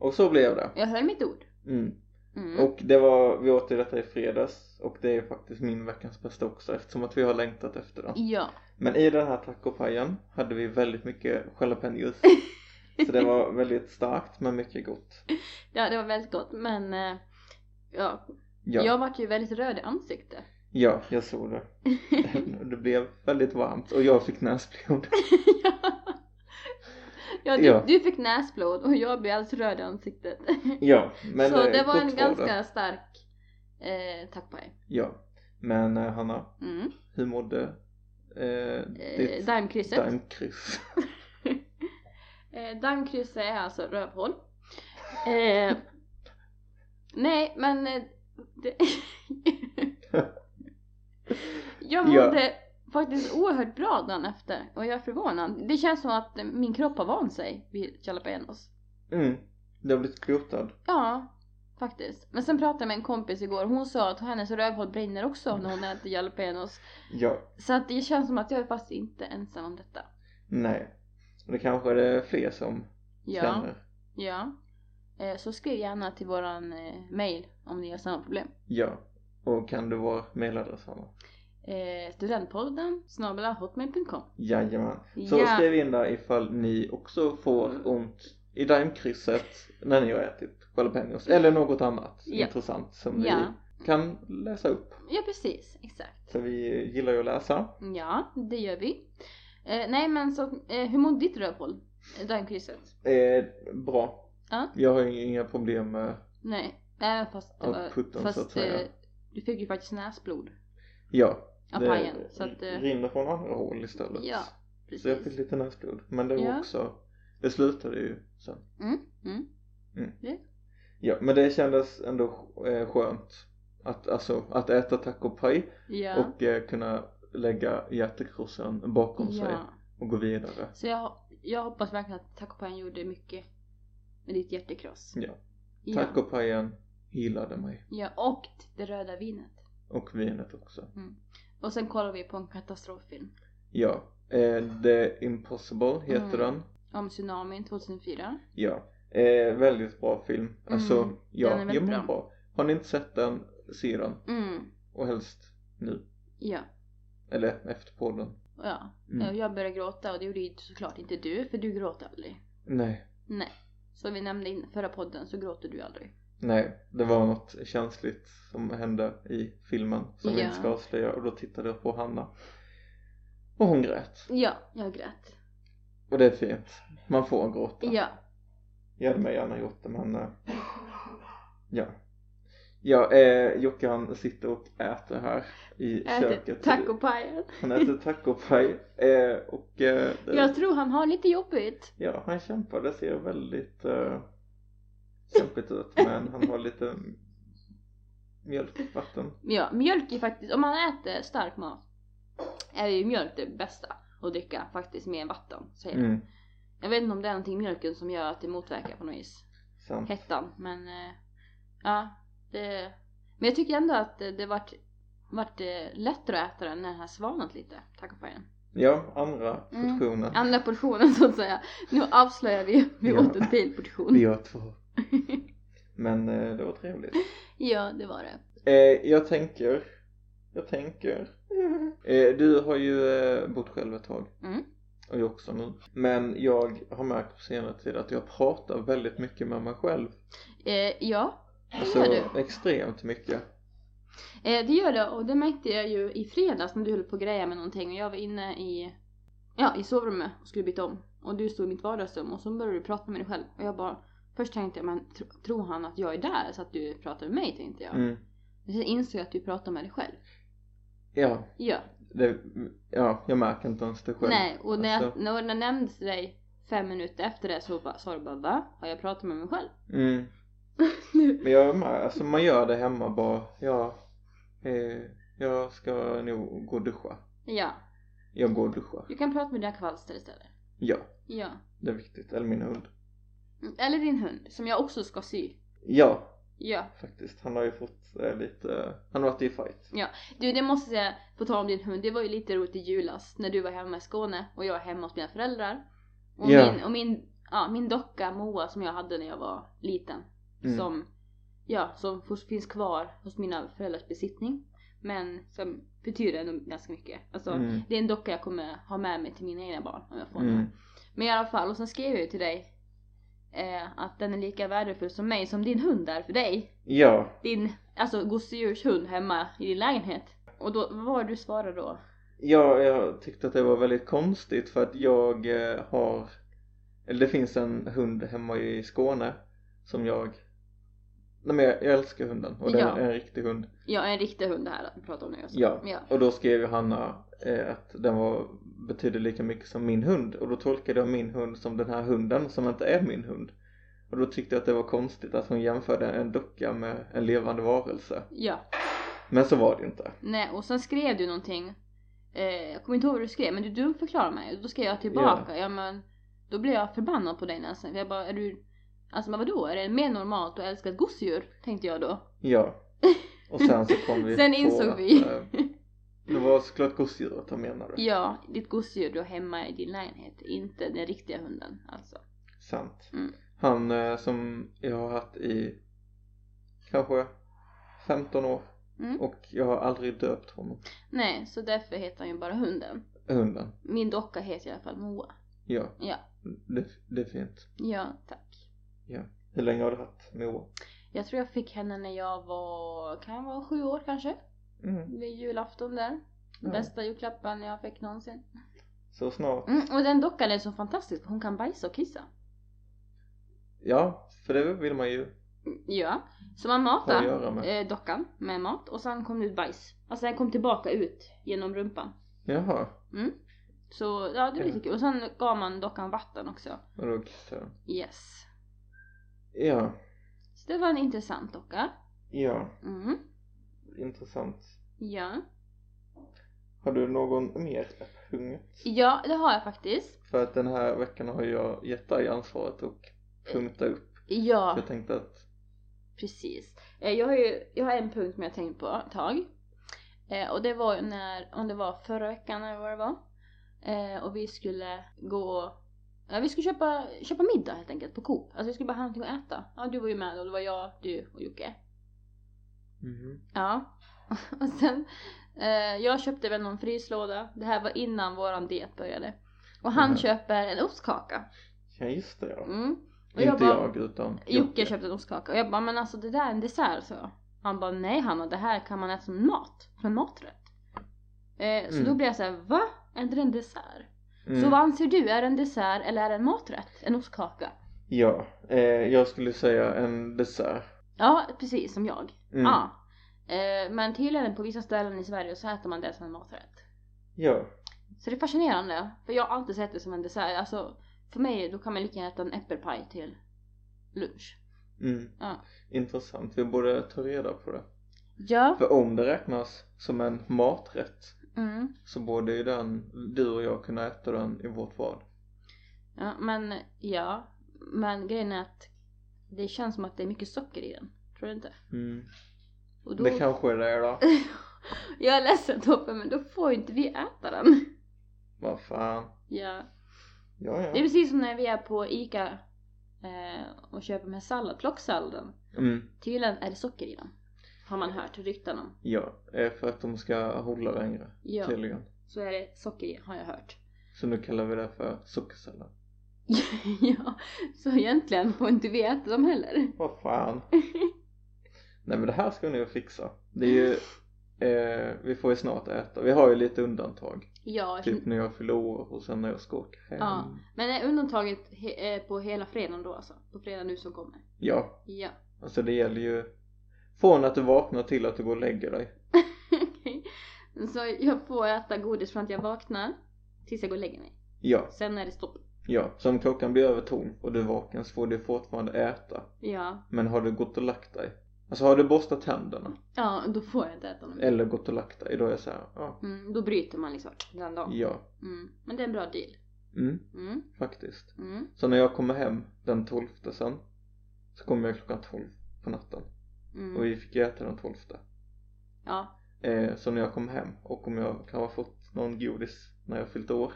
S1: Och så blev det.
S2: Jag höll mitt ord.
S1: Mm.
S2: Mm.
S1: Och det var, vi åt ju detta i fredags och det är faktiskt min veckans bästa också eftersom att vi har längtat efter den.
S2: Ja.
S1: Men i den här tacopajen hade vi väldigt mycket jalapenos. Så det var väldigt starkt men mycket gott.
S2: ja, det var väldigt gott men eh, ja.
S1: Ja,
S2: jag vart ju väldigt röd i ansiktet.
S1: ja jag såg det. Det blev väldigt varmt och jag fick näsblod.
S2: ja, du,
S1: Ja.
S2: du fick näsblod och jag blev alldeles röd i ansiktet.
S1: Ja, men
S2: så
S1: eh,
S2: det var en
S1: gott
S2: ganska stark eh, tackpaj.
S1: Ja, men eh, Hanna,
S2: Mm.
S1: hur mådde eh,
S2: Eh,
S1: ditt
S2: Daimkrysset.
S1: daimkryss?
S2: Eh, Dammkrysset är alltså rövhål. Eh, nej, men... eh, Det... jag
S1: Ja.
S2: mådde faktiskt oerhört bra dagen efter och jag är förvånad. Det känns som att eh, min kropp har vant sig vid jalapenos.
S1: Mm, du har blivit botad.
S2: Ja, faktiskt. Men sen pratade jag med en kompis igår hon sa att hennes rövhål brinner också när hon äter jalapenos.
S1: Ja,
S2: Så att det känns som att jag är fast inte ensam om detta.
S1: nej. Och det kanske är det fler som
S2: Ja.
S1: känner.
S2: Ja. Eh, Så skriv gärna till våran eh, mail om ni har samma problem.
S1: Ja. Och kan du vår mailadress Hanna?
S2: Eh, studentpodden snabel-a hotmail.com
S1: Jajamän. Så
S2: Ja. Mm.
S1: skriv in där ifall ni också får ont i daimkrysset när ni har ätit jalapenos. Eller något annat
S2: Ja.
S1: intressant som
S2: Ja.
S1: vi kan läsa upp.
S2: ja, precis. Exakt.
S1: För vi gillar ju att läsa.
S2: Ja, det gör vi. Eh, nej men så, eh, hur mår ditt rövhål? Eh, Daimkrysset?
S1: Eh, bra.
S2: Ja.
S1: Jag har ju inga problem med...
S2: Nej, även fast det
S1: Ja,
S2: var...
S1: putten, så att
S2: fast
S1: säga.
S2: eh, du fick ju faktiskt näsblod
S1: Ja.
S2: av pajen. Så att, eh,
S1: rinner från andra håll istället.
S2: Ja,
S1: Så jag fick
S2: precis.
S1: lite näsblod. Men det var
S2: Ja.
S1: också... Det slutade ju sen.
S2: Mm, mm.
S1: Ja, men det kändes ändå eh, skönt. Att, alltså, att äta tacopaj
S2: Ja.
S1: och eh, kunna lägga hjärtekrossen bakom sig
S2: ja.
S1: och gå vidare.
S2: Så jag, jag hoppas verkligen att tacopajen gjorde mycket med ditt hjärtekross.
S1: Ja.
S2: Ja.
S1: Tacopajen hyllade mig
S2: Ja, och det röda vinet.
S1: och vinet också.
S2: Och sen kollar vi på en katastroffilm.
S1: Ja, eh, The Impossible heter
S2: Mm.
S1: den.
S2: Om tsunamin 2004.
S1: Ja, eh, väldigt bra film. Alltså,
S2: Mm,
S1: ja,
S2: den är väldigt
S1: ja, men
S2: bra.
S1: Har ni inte sett den, se den.
S2: Mm,
S1: Och helst nu.
S2: ja.
S1: Eller efter podden.
S2: ja.
S1: Mm.
S2: Och Jag började gråta och det gjorde ju såklart inte du, för du gråter aldrig.
S1: Nej,
S2: Som vi nämnde i förra podden så gråter du aldrig.
S1: nej, det var något känsligt som hände i filmen som vi
S2: Ja.
S1: inte ska avslöja och då tittade jag på Hanna. Och hon grät.
S2: Ja, jag grät.
S1: Och det är fint. Man får gråta.
S2: Ja.
S1: Jag hade mig gärna gjort det men... eh, Ja. Ja, eh, Jocke han sitter och äter här i
S2: Äter
S1: köket.
S2: tacopajen.
S1: Han äter tacopaj eh, och eh, det,
S2: Jag tror han har lite jobbigt.
S1: ja, han kämpar. Det ser väldigt eh, kämpigt ut men han har lite mjölkvatten.
S2: Ja, mjölk är faktiskt, om man äter stark mat är ju mjölk det bästa att dricka faktiskt mer än vatten. Säger de.
S1: Mm,
S2: Jag vet inte om det är någonting i mjölken som gör att det motverkar på något vis.
S1: sant.
S2: hettan. Men eh, ja, det... Men jag tycker ändå att det, det vart, vart eh, lättare att äta den när den har svalnat lite, tacopajen.
S1: Ja, andra
S2: Mm.
S1: portionen.
S2: Andra portionen så att säga. Nu avslöjar vi, vi
S1: Ja.
S2: åt en till
S1: Vi
S2: portion.
S1: gör två. Men eh, det var trevligt.
S2: Ja, det var det.
S1: Eh, jag tänker, jag tänker. Eh, du har ju eh, bott själv ett tag.
S2: Mm.
S1: Och jag också nu. Men jag har märkt på senare tid att jag pratar väldigt mycket med mig själv.
S2: Eh, ja,
S1: Alltså
S2: gör du.
S1: extremt mycket.
S2: eh, det gör det och det märkte jag ju i fredags när du höll på att greja med någonting och jag var inne i, ja, i sovrummet och skulle byta om. Och du stod i mitt vardagsrum och så började du prata med dig själv och jag bara Först tänkte jag, men tro, tror han att jag är där så att du pratar med mig? tänkte jag.
S1: Mm.
S2: Men sen insåg jag att du pratar med dig själv.
S1: Ja,
S2: Ja.
S1: det, ja, jag märker inte ens det själv.
S2: Nej, och när,
S1: Alltså.
S2: jag, när jag nämnde till dig fem minuter efter det så bara- sa du bara va? Har jag pratat med mig själv?
S1: Mm.
S2: Nu.
S1: Men jag är med, alltså man gör det hemma bara, ja, eh, jag ska nog gå och duscha.
S2: Ja,
S1: Jag går och duschar.
S2: du kan prata med dina kvalster istället.
S1: Ja,
S2: Ja.
S1: det är viktigt. Eller min hund.
S2: Mm, Eller din hund, som jag också ska sy.
S1: Ja,
S2: Ja.
S1: faktiskt. Han har ju fått eh, lite, han har varit i fight.
S2: Du, det måste jag säga, på tal om din hund, det var ju lite roligt i julas när du var hemma i Skåne och jag var hemma hos mina föräldrar. Och,
S1: Ja.
S2: min, och min, ja, min docka Moa som jag hade när jag var liten,
S1: Mm.
S2: som, ja, som fos- finns kvar hos mina föräldrars besittning. Men som betyder ändå ganska mycket. Alltså,
S1: Mm.
S2: det är en docka jag kommer ha med mig till mina egna barn om jag får
S1: Mm.
S2: den. Men i alla fall, och sen skrev jag ju till dig eh, att den är lika värdefull som mig som din hund är för dig
S1: Ja,
S2: din alltså gosedjurshund hemma i din lägenhet. Och då, vad var det du svarade då?
S1: Ja, jag tyckte att det var väldigt konstigt för att jag eh, har, eller det finns en hund hemma i Skåne som jag, nej men jag, jag älskar hunden och det
S2: Ja.
S1: är en riktig hund.
S2: Ja, en riktig hund det här att vi pratar om nu. Alltså.
S1: Ja.
S2: ja.
S1: Och då skrev ju Hanna eh, att den var, betydde lika mycket som min hund och då tolkade jag min hund som den här hunden som inte är min hund. Och då tyckte jag att det var konstigt att hon jämförde en docka med en levande varelse.
S2: Ja.
S1: Men så var det inte.
S2: Nej, och sen skrev du någonting. Eh, jag kommer inte ihåg vad du skrev, men du dumförklarade mig. Och då skrev jag tillbaka, ja men då blev jag förbannad på dig nästan. För jag bara, är du, alltså men vadå? Är det mer normalt att älska ett gosedjur? Tänkte jag då.
S1: Ja. Och sen så kom vi
S2: Sen
S1: på
S2: insåg
S1: att,
S2: vi.
S1: eh, Det var såklart gosedjuret han menade.
S2: Ja, ditt gosedjur du har hemma i din lägenhet, inte den riktiga hunden alltså.
S1: Sant.
S2: Mm.
S1: Han eh, som jag har haft i kanske 15 år
S2: Mm.
S1: och jag har aldrig döpt honom.
S2: Nej, så därför heter han ju bara hunden.
S1: Hunden.
S2: Min docka heter i alla fall Moa.
S1: Ja.
S2: Ja.
S1: Det, det är fint.
S2: Ja, tack.
S1: Hur länge har du haft Moa?
S2: Jag tror jag fick henne när jag var, kan jag vara sju år kanske?
S1: Mm.
S2: Vid julafton där.
S1: Ja.
S2: Bästa julklappen jag fick någonsin.
S1: Så snart.
S2: Mm, och den dockan är så fantastisk, hon kan bajsa och kissa.
S1: Ja, för det vill man ju
S2: Mm, Ja. Så man
S1: ha att
S2: matade
S1: göra med.
S2: eh, dockan med mat och sen kom det ut bajs. Alltså den kom tillbaka ut genom rumpan.
S1: Jaha.
S2: Så ja, det var lite kul. Och sen gav man dockan vatten också.
S1: Och då kissade den.
S2: Yes.
S1: Ja.
S2: Så det var en intressant docka.
S1: Ja.
S2: Mm.
S1: Intressant.
S2: Ja.
S1: Har du någon mer punkt?
S2: Ja, det har jag faktiskt.
S1: För att den här veckan har jag gett dig ansvaret och punkta upp.
S2: Ja.
S1: Så jag tänkte att
S2: Precis. Eh, Jag har ju jag har en punkt som jag har tänkt på ett tag. Eh, och det var ju när, om det var förra veckan eller vad det var. Eh, och vi skulle gå, ja vi skulle köpa, köpa middag helt enkelt på Coop. Alltså vi skulle bara ha någonting att äta. Ja du var ju med och det var jag, du och Jocke.
S1: Mhm.
S2: Ja. och sen, eh, jag köpte väl någon fryslåda. Det här var innan våran diet började. Och han
S1: Mhm.
S2: köper en ostkaka.
S1: Ja just det ja.
S2: Mm. Och
S1: Inte
S2: bara-
S1: jag utan
S2: Jocke köpte en ostkaka och jag bara men alltså det där är en dessert så jag. Han bara nej Hanna det här kan man äta som mat, som en maträtt. Eh, så
S1: Mm.
S2: då blev jag såhär va? Är inte det en dessert?
S1: Mm.
S2: Så vad anser du, är det en dessert eller är det en maträtt? En ostkaka?
S1: Ja, eh, jag skulle säga en dessert.
S2: Ja precis som jag.
S1: Mm.
S2: Ja. Eh, men tydligen på vissa ställen i Sverige så äter man det som en maträtt.
S1: Ja.
S2: Så det är fascinerande för jag har alltid sett det som en dessert. Alltså för mig då kan man lika gärna äta en äppelpaj till lunch.
S1: Mm.
S2: Ja.
S1: Intressant, vi borde ta reda på det.
S2: Ja.
S1: För om det räknas som en maträtt
S2: Mm.
S1: så borde ju den, du och jag kunna äta den i vårt val.
S2: Ja, men ja. Men grejen är att det känns som att det är mycket socker i den. Tror du inte?
S1: Mm.
S2: Och då,
S1: Det kanske det är då.
S2: jag är ledsen Tobbe, men då får ju inte vi äta den.
S1: Vad fan.
S2: Ja.
S1: Ja,
S2: Det är
S1: ja.
S2: precis som när vi är på ICA eh, och köper med sallad, plocksalladen.
S1: Mm.
S2: Tydligen är det socker i den. Har man hört rykten om.
S1: Ja, eh, för att de ska hålla längre
S2: Ja,
S1: tydligen.
S2: så är det socker i, har jag hört.
S1: Så nu kallar vi det för sockersallad.
S2: ja, så egentligen får inte vi äta dem heller.
S1: Vad fan. Nej men det här ska vi nu fixa. Det är ju, eh, vi får ju snart äta. Vi har ju lite undantag.
S2: Ja,
S1: Typ när jag fyller år och sen när jag ska åka hem.
S2: Alltså- Ja. men är undantaget he- eh, på hela fredagen då alltså? På fredag nu som kommer?
S1: ja.
S2: Ja.
S1: Alltså det gäller ju från att du vaknar till att du går och lägger dig.
S2: Okej. Så jag får äta godis fram till jag vaknar. Tills jag går och lägger mig.
S1: Ja,
S2: Sen är det stopp.
S1: ja. Så om klockan blir över tom och du är vaken så får du fortfarande äta.
S2: Ja.
S1: Men har du gått och lagt dig? Alltså har du borstat tänderna?
S2: Ja, då får jag inte äta något. mer.
S1: Eller gått och lagt dig? Då är jag såhär, ja.
S2: Mm, då bryter man liksom den dagen.
S1: Ja.
S2: Mm. Men det är en bra deal.
S1: Mm,
S2: Mm,
S1: faktiskt.
S2: mm,
S1: Så när jag kommer hem den 12 sen så kommer jag klockan 12 på natten. Och
S2: mm.
S1: vi fick ju äta den 12.
S2: Ja.
S1: Eh, så när jag kom hem och om jag kan ha fått någon godis när jag fyllt år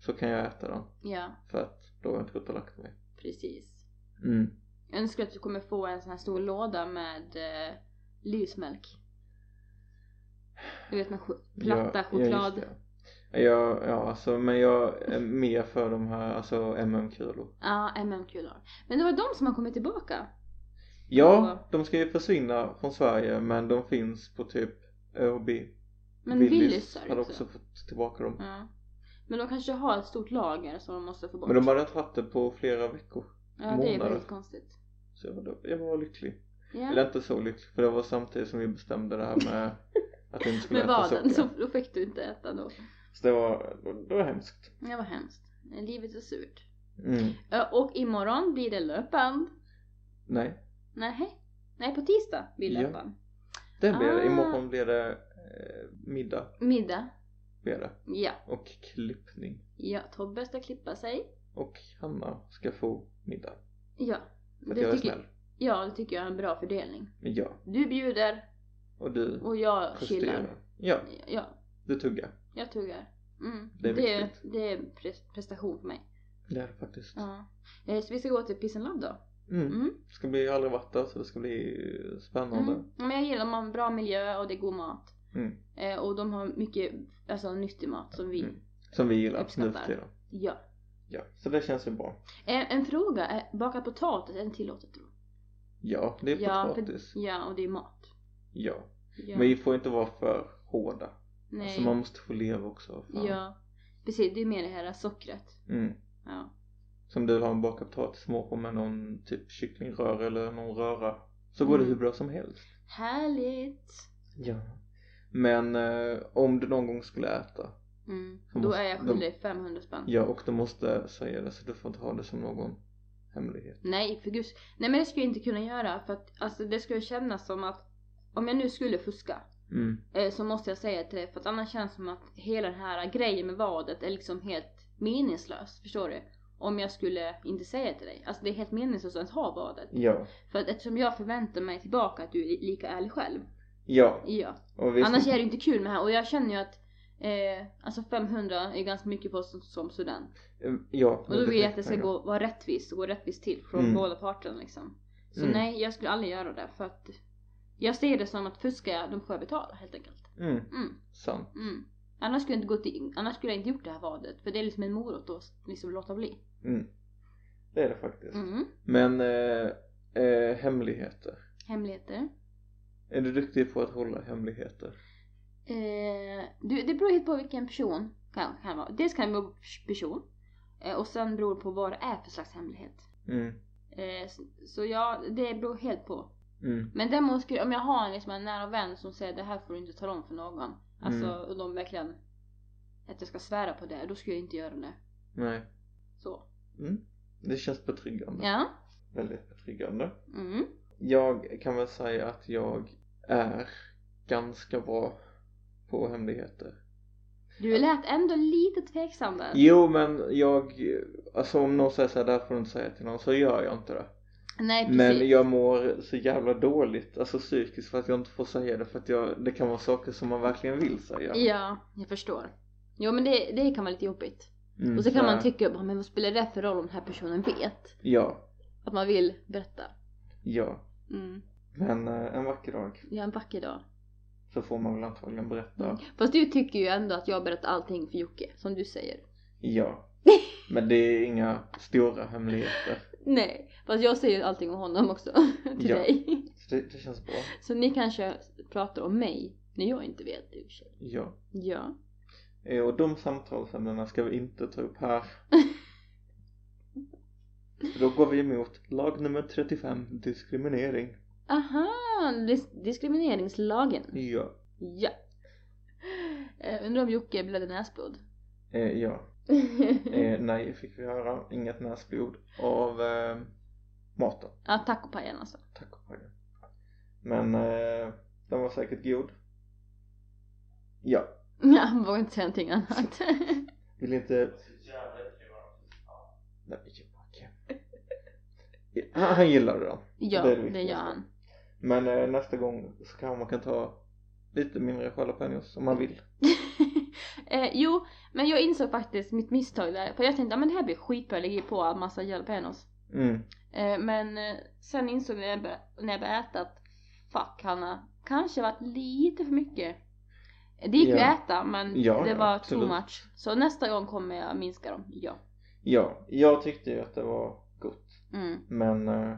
S1: så kan jag äta den.
S2: Ja,
S1: För att då har jag inte gått och lagt mig.
S2: precis.
S1: Mm.
S2: Jag önskar att du kommer få en sån här stor låda med eh, lysmjölk. Du vet med ch- platta
S1: Ja, Ja,
S2: choklad.
S1: just det. jag, ja alltså, men jag är mer för de här alltså MM-kulor.
S2: Ja, MM-kulor. Men det var de som har kommit tillbaka.
S1: Ja, de ska ju försvinna från Sverige men de finns på typ ÖoB.
S2: Men Willys har
S1: hade
S2: också.
S1: också fått tillbaka dem.
S2: Ja. Men de kanske har ett stort lager som de måste få bort.
S1: Men de hade inte haft det på flera veckor.
S2: ja, det är
S1: månader.
S2: väldigt konstigt.
S1: Så jag var, jag var lycklig.
S2: Ja.
S1: Eller inte så lycklig för det var samtidigt som vi bestämde det här med att vi inte skulle
S2: Med
S1: äta
S2: vaden, så
S1: socker.
S2: då fick du inte äta då.
S1: Så det var, det var hemskt.
S2: Det var hemskt. Livet är surt.
S1: Mm.
S2: Ja, Och imorgon blir det löpband.
S1: Nej,
S2: Nej. Nej, på tisdag blir
S1: Ja.
S2: löpband.
S1: det blir det.
S2: Ah.
S1: Imorgon blir det eh, middag.
S2: Middag.
S1: Blir det.
S2: Ja.
S1: Och klippning.
S2: Ja, Tobbe ska klippa sig.
S1: Och Hanna ska få middag.
S2: Ja.
S1: För att jag är
S2: tycker,
S1: snäll.
S2: ja, det tycker jag är en bra fördelning.
S1: Ja.
S2: Du bjuder
S1: Och du
S2: och jag chillar.
S1: justerar. Ja,
S2: Ja,
S1: du tuggar.
S2: jag tuggar. Mm.
S1: Det är
S2: det,
S1: viktigt.
S2: det är pre- prestation för mig.
S1: Det är det faktiskt.
S2: Ja. Eh, Så vi ska gå till Piss and Love då.
S1: Mm.
S2: Mm.
S1: Det ska bli jag har aldrig varit där så det ska bli eh, spännande.
S2: Mm. Men jag gillar man bra miljö och det är god mat.
S1: Mm.
S2: Eh, Och de har mycket alltså, nyttig mat som vi
S1: Mm. Som vi gillar nu
S2: Uppskattar.
S1: för tiden.
S2: gör.
S1: Ja, så det känns ju bra.
S2: Eh, En fråga, är bakad potatis är det tillåtet då?
S1: Ja, det är
S2: Ja, för-
S1: potatis.
S2: Ja, och det är mat.
S1: Ja.
S2: Ja.
S1: Men vi får inte vara för hårda.
S2: Nej.
S1: Alltså man måste få leva också. fan.
S2: Ja. Precis, det är mer det här sockret.
S1: Mm.
S2: Ja.
S1: Som du vill ha en bakad potatis små med någon typ kycklingrör eller någon röra. Så går det
S2: Mm.
S1: hur bra som helst.
S2: Härligt!
S1: Ja. Men eh, om du någon gång skulle äta.
S2: Mm.
S1: De
S2: Då
S1: måste-
S2: är jag
S1: de-
S2: skyldig 500 spänn.
S1: Ja, och du måste säga det så du får inte ha det som någon hemlighet.
S2: Nej, för guds... Nej men det skulle jag inte kunna göra för att alltså, det skulle kännas som att om jag nu skulle fuska
S1: Mm.
S2: eh, så måste jag säga till det för att annars känns det som att hela den här grejen med vadet är liksom helt meningslös. Förstår du? Om jag skulle inte säga till dig. Alltså det är helt meningslöst att ens ha vadet.
S1: Ja.
S2: För att eftersom jag förväntar mig tillbaka att du är li- lika ärlig själv.
S1: Ja.
S2: Ja.
S1: Och vi
S2: Annars är det inte kul med det här och jag känner ju att eh, alltså 500 är ganska mycket för oss som, som student.
S1: Eh, Ja.
S2: Och då vill jag att det ska
S1: pengar.
S2: gå, vara rättvist och gå rättvist till från
S1: Mm.
S2: båda parterna liksom. Så
S1: Mm.
S2: nej, jag skulle aldrig göra det för att jag ser det som att fuskar jag, då får jag betala helt enkelt.
S1: Mm.
S2: Mm,
S1: Sant.
S2: mm. Annars skulle jag inte, gått in, annars skulle jag inte gjort det här vadet för det är liksom en morot att liksom låta bli.
S1: Mm. Det är det faktiskt.
S2: Mm.
S1: Men eh, eh, hemligheter.
S2: Hemligheter.
S1: Är du duktig på att hålla hemligheter?
S2: Eh, du, det beror helt på vilken person kan, kan vara. Dels kan det vara person eh, och sen beror det på vad det är för slags hemlighet.
S1: Mm.
S2: Eh, så, så ja, det beror helt på.
S1: Mm.
S2: Men däremot skulle, om jag har en, liksom, en nära vän som säger det här får du inte tala om för någon. Alltså,
S1: Mm.
S2: och de verkligen att jag ska svära på det, då skulle jag inte göra det.
S1: Nej.
S2: Så.
S1: Mm. Det känns betryggande.
S2: Ja.
S1: Väldigt betryggande.
S2: Mm.
S1: Jag kan väl säga att jag är ganska bra på hemligheter.
S2: Du lät ändå lite tveksam där.
S1: Jo men jag, alltså om någon säger såhär, det här får du inte säga till någon så gör jag inte det.
S2: Nej precis.
S1: Men jag mår så jävla dåligt, alltså psykiskt för att jag inte får säga det för att jag, det kan vara saker som man verkligen vill säga.
S2: Ja, jag förstår. Jo men det, det kan vara lite jobbigt.
S1: Mm,
S2: Och så kan
S1: här-
S2: man tycka, bara, men vad spelar det för roll om den här personen vet?
S1: Ja,
S2: Att man vill berätta.
S1: ja.
S2: Mm.
S1: Men eh, en vacker dag
S2: Jag är en vacker dag.
S1: så får man väl antagligen berätta.
S2: Fast du tycker ju ändå att jag berättar allting för Jocke, som du säger.
S1: Ja. Men det är inga stora hemligheter.
S2: Nej, fast jag säger allting om honom också till
S1: Ja.
S2: dig.
S1: Så det, det känns bra.
S2: Så ni kanske pratar om mig när jag inte vet i och för sig.
S1: Ja.
S2: Ja.
S1: Eh, Och de samtalsämnena ska vi inte ta upp här. För Då går vi emot lag nummer 35, diskriminering.
S2: Aha! Dis- diskrimineringslagen.
S1: Ja.
S2: Ja. Eh, undrar om Jocke blödde näsblod.
S1: Eh, ja.
S2: Mm.
S1: Eh, nej, fick vi höra. Inget näsblod av eh, maten.
S2: ja, tacopajen alltså.
S1: Tack och lov. Men eh, den var säkert god. Ja,
S2: Ja, han vågar inte säga någonting annat.
S1: vill inte... Nej, Jocke. Han, han gillade den.
S2: ja,
S1: Det är det
S2: det, gör
S1: viktigaste.
S2: han.
S1: Men eh, nästa gång så kanske man kan ta lite mindre jalapenos om man vill.
S2: eh, jo, men jag insåg faktiskt mitt misstag där. För jag tänkte att men det här blir skitbra, jag lägger på en massa jalapenos.
S1: Mm.
S2: Eh, men eh, sen insåg jag när jag började, när jag började äta att fuck Hanna, kanske varit lite för mycket. Eh, Det gick ju
S1: Ja.
S2: att äta men
S1: Ja,
S2: det
S1: ja,
S2: var
S1: absolut.
S2: too much. Så nästa gång kommer jag minska dem, ja.
S1: Ja, jag tyckte ju att det var gott.
S2: Mm.
S1: Men eh,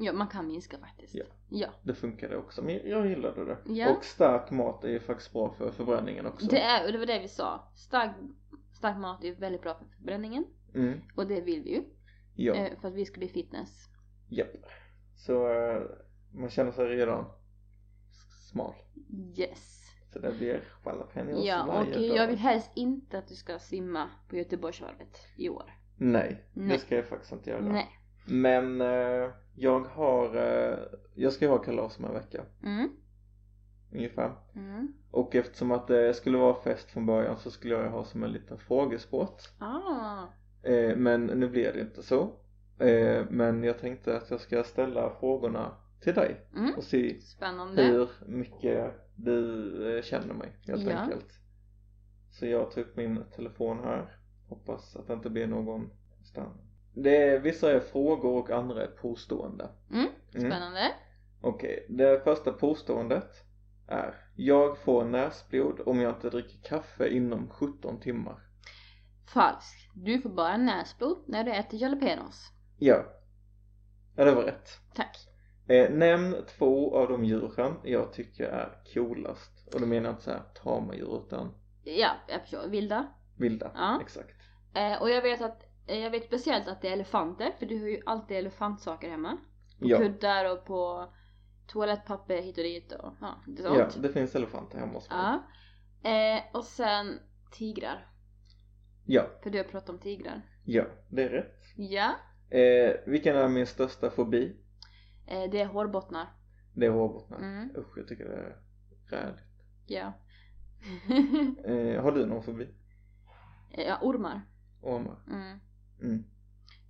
S2: Ja, man kan minska faktiskt.
S1: Ja.
S2: ja.
S1: det funkade också. Men jag gillade det.
S2: Ja.
S1: Och stark mat är ju faktiskt bra för förbränningen också.
S2: Det, är, och det var det vi sa. Stark, stark mat är väldigt bra för förbränningen.
S1: Mm.
S2: Och det vill vi ju.
S1: Ja,
S2: eh, För att vi ska bli fitness.
S1: japp. Så eh, man känner sig redan smal.
S2: Yes.
S1: Så det blir jalapenos
S2: Ja, och
S1: varje dag.
S2: jag vill helst inte att du ska simma på Göteborgsvarvet i år.
S1: Nej,
S2: Nej.
S1: det ska jag faktiskt inte göra.
S2: Nej.
S1: Men eh, jag har, eh, jag ska ju ha kalas om en vecka
S2: Mm.
S1: ungefär.
S2: Mm.
S1: Och eftersom att det skulle vara fest från början så skulle jag ju ha som en liten frågesport.
S2: Ah.
S1: Eh, men nu blir det inte så. Eh, men jag tänkte att jag ska ställa frågorna till dig
S2: Mm.
S1: och se
S2: Spännande.
S1: hur mycket du eh, känner mig helt
S2: Ja.
S1: enkelt. Så jag tar upp min telefon här. Hoppas att det inte blir någon stann. Det är, vissa är frågor och andra är påstående.
S2: Mm,
S1: Mm.
S2: Spännande.
S1: Okej, det första påståendet är Jag får näsblod om jag inte dricker kaffe inom 17 timmar.
S2: Falskt. Du får bara näsblod när du äter jalapenos.
S1: Ja. Ja, det var rätt.
S2: Tack.
S1: Eh, nämn två av de djuren jag tycker är coolast. Och då menar jag inte såhär tama djur utan
S2: Ja, jag förstår. Vilda.
S1: vilda.
S2: Ja.
S1: Exakt.
S2: Eh, och jag vet att eh, jag vet speciellt att det är elefanter, för du har ju alltid elefantsaker hemma.
S1: Ja.
S2: Kuddar och på toalettpapper hit och dit och ja, lite sånt.
S1: ja, det finns elefanter hemma hos mig.
S2: Ja. Eh, och sen tigrar.
S1: Ja,
S2: För du har pratat om tigrar.
S1: ja, det är rätt.
S2: Ja.
S1: Eh, vilken är min största fobi?
S2: Eh, det är hårbottnar.
S1: Det är hårbottnar.
S2: Mm.
S1: Usch, jag tycker det är räligt.
S2: Ja.
S1: Eh, har du någon fobi?
S2: Eh, ja, ormar.
S1: Ormar?
S2: Mm.
S1: Mm.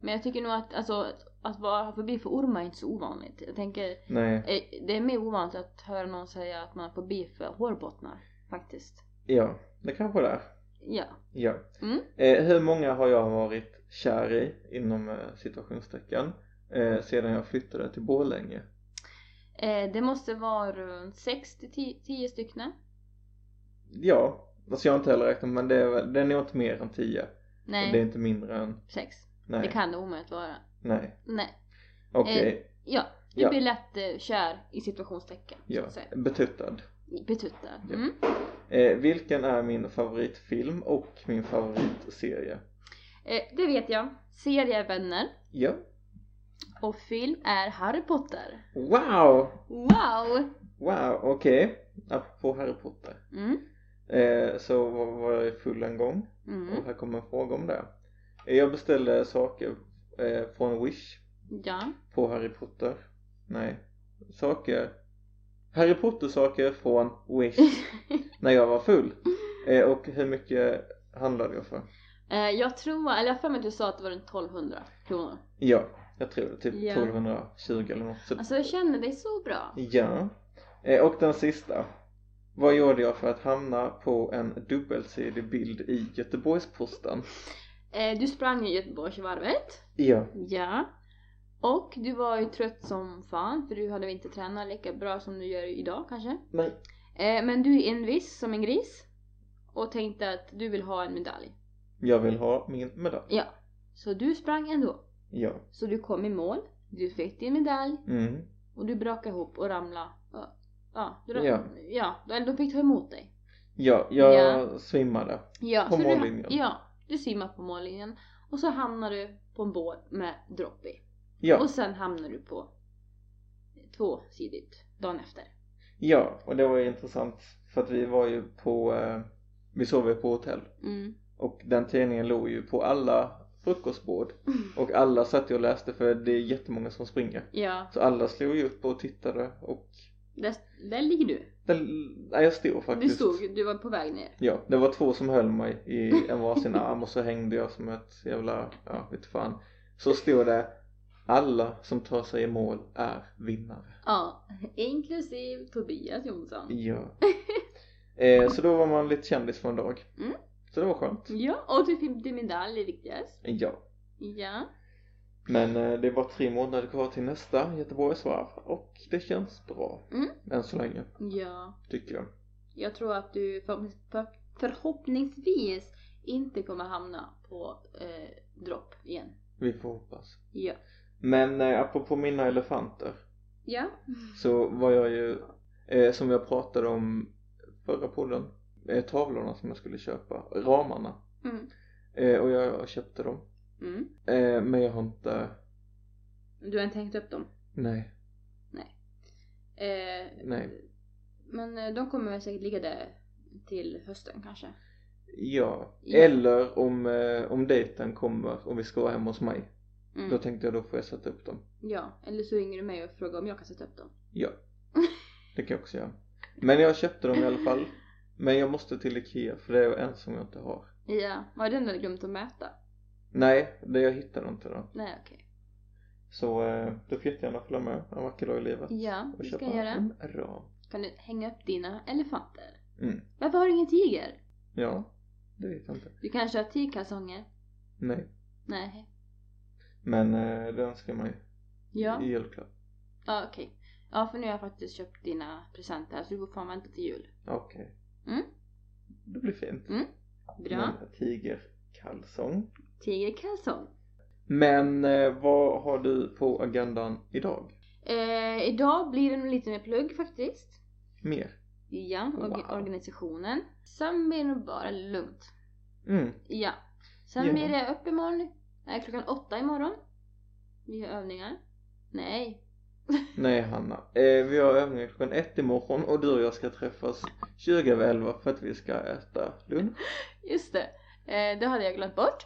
S2: Men jag tycker nog att alltså, att- att vara förbi för ormar är inte så ovanligt. Jag tänker,
S1: Nej,
S2: eh, det är mer ovanligt att höra någon säga att man har fobi för hårbottnar. Faktiskt.
S1: ja, det kanske det är.
S2: Ja.
S1: Ja.
S2: Mm.
S1: Eh, hur många har jag varit kär i, inom eh, situationstecken, eh, sedan jag flyttade till Borlänge?
S2: Eh, det måste vara runt 6 till 10 stycken.
S1: Ja, alltså jag har inte heller räknat men det är, väl- det är nog inte mer än 10
S2: Nej,
S1: och det är inte mindre än,
S2: sex.
S1: nej,
S2: Det kan Eh, det omöjligt vara.
S1: nej,
S2: Nej.
S1: okej,
S2: Ja, du
S1: Ja.
S2: blir lätt eh, kär i situationstecken. så
S1: ja,
S2: att säga.
S1: betuttad.
S2: Betuttad.
S1: Ja.
S2: Mm.
S1: Eh, vilken är min favoritfilm och min favoritserie?
S2: Eh, det vet jag. Serie är Vänner
S1: Ja,
S2: och film är Harry Potter.
S1: wow,
S2: Wow!
S1: wow, okej, apropå Harry Potter.
S2: Mm.
S1: Eh, så var, var jag full en gång och
S2: Mm.
S1: här kommer en fråga om det. Eh, Jag beställde saker eh, från Wish
S2: Ja.
S1: på Harry Potter, nej, saker, Harry Potter saker från Wish. när jag var full eh, och hur mycket handlade jag för?
S2: eh, jag tror, eller jag har för mig att du sa att det var runt 1200 kronor.
S1: Ja, jag tror det, typ
S2: Ja.
S1: 1220 eller något så,
S2: Alltså jag känner dig så bra.
S1: Ja, eh, och den sista Vad gjorde jag för att hamna på en dubbelsidig bild i Göteborgsposten?
S2: Eh, du sprang i Göteborgsvarvet.
S1: Ja,
S2: Ja. Och du var ju trött som fan för du hade inte tränat lika bra som du gör idag kanske.
S1: nej,
S2: Eh, men du är envis som en gris och tänkte att du vill ha en medalj.
S1: jag vill ha min medalj
S2: Så du sprang ändå.
S1: Ja,
S2: Så du kom i mål, du fick din medalj
S1: mm,
S2: och du brakade ihop och ramlade. Ja, ja, du,
S1: Ja.
S2: ja då- eller de fick ta emot dig.
S1: ja, jag
S2: Ja.
S1: svimmade
S2: Ja,
S1: På
S2: så
S1: mållinjen.
S2: Du, ja, du simmar på mållinjen och så hamnar du på en båt med dropp i.
S1: Ja,
S2: Och sen hamnar du på tvåsidigt dagen efter.
S1: ja, och det var ju intressant För att vi var ju på, eh, vi sov ju på hotell.
S2: Mm.
S1: Och den tidningen låg ju på alla frukostbord.
S2: Mm.
S1: Och alla satt ju och läste för det är jättemånga som springer.
S2: Ja,
S1: Så alla slog ju upp och tittade och
S2: där, där ligger du.
S1: den, nej, jag stod
S2: Du
S1: faktiskt.
S2: stod, du var på väg ner.
S1: Ja, det var två som höll mig i en varsin arm och så hängde jag som ett jävla, ja vet fan. Så stod det alla som tar sig i mål är vinnare.
S2: Ja, inklusive Tobias Jonsson.
S1: Ja. Eh, så då var man lite kändis för en dag.
S2: Mm.
S1: Så det var skönt.
S2: Ja, och du fick din medalj är viktigast.
S1: Ja.
S2: Ja.
S1: Men eh, det är bara tre månader kvar till nästa Göteborgsvarv och det känns bra.
S2: Mm.
S1: Än så länge,
S2: Ja.
S1: tycker jag.
S2: Jag tror att du förhoppnings- för- förhoppningsvis inte kommer hamna på eh, dropp igen.
S1: Vi får hoppas.
S2: Ja.
S1: Men eh, apropå mina elefanter
S2: Ja.
S1: så var jag ju, eh, som jag pratade om förra podden, eh, tavlorna som jag skulle köpa, ramarna.
S2: Mm.
S1: Eh, och jag köpte dem.
S2: Mm.
S1: Eh, men jag har inte,
S2: Du har inte hängt upp dem.
S1: nej,
S2: Eh,
S1: nej.
S2: men eh, de kommer väl säkert ligga där till hösten kanske.
S1: Ja.
S2: Ja.
S1: Eller om, eh, om dejten kommer, om vi ska vara hemma hos mig.
S2: Mm.
S1: Då tänkte jag då får jag sätta upp dem.
S2: Ja, eller så ringer du mig och frågar om jag kan sätta upp dem.
S1: Ja. Det kan jag också göra. Men jag köpte dem i alla fall. Men jag måste till Ikea för det är en som jag inte har.
S2: Ja, var det den du hade glömt att mäta?
S1: Nej, det jag hittade inte då.
S2: Nej okej.
S1: Så eh, du får jättegärna följa med en vacker dag i livet.
S2: Ja,
S1: och
S2: det ska
S1: köpa
S2: jag göra.
S1: en ram.
S2: Kan du hänga upp dina elefanter?
S1: Mm.
S2: Varför har du ingen tiger?
S1: Ja, det vet jag inte.
S2: Du kanske har tigkalsonger?
S1: Nej.
S2: Nej.
S1: Men eh, det önskar jag mig
S2: Ja,
S1: i julklapp.
S2: ja okej. Ja, för nu har jag faktiskt köpt dina presenter så du får fan vänta till jul.
S1: Okej.
S2: Mm.
S1: Det blir fint.
S2: Mm, Bra.
S1: Men eh, Tigerkalsong.
S2: Tigerkalsong.
S1: Men eh, vad har du på agendan idag?
S2: Eh, idag blir det nog lite mer plugg faktiskt.
S1: Mer?
S2: Ja, och
S1: Wow.
S2: organisationen. Sen blir det nog bara lugnt.
S1: Mm.
S2: Ja. Sen
S1: Ja.
S2: blir det upp imorgon. Nej, klockan åtta imorgon. Vi har övningar. Nej.
S1: Nej Hanna, eh, vi har övningar klockan ett imorgon och du och jag ska träffas 20 över 11 för att vi ska äta lunch.
S2: Just det. Eh, det hade jag glömt bort.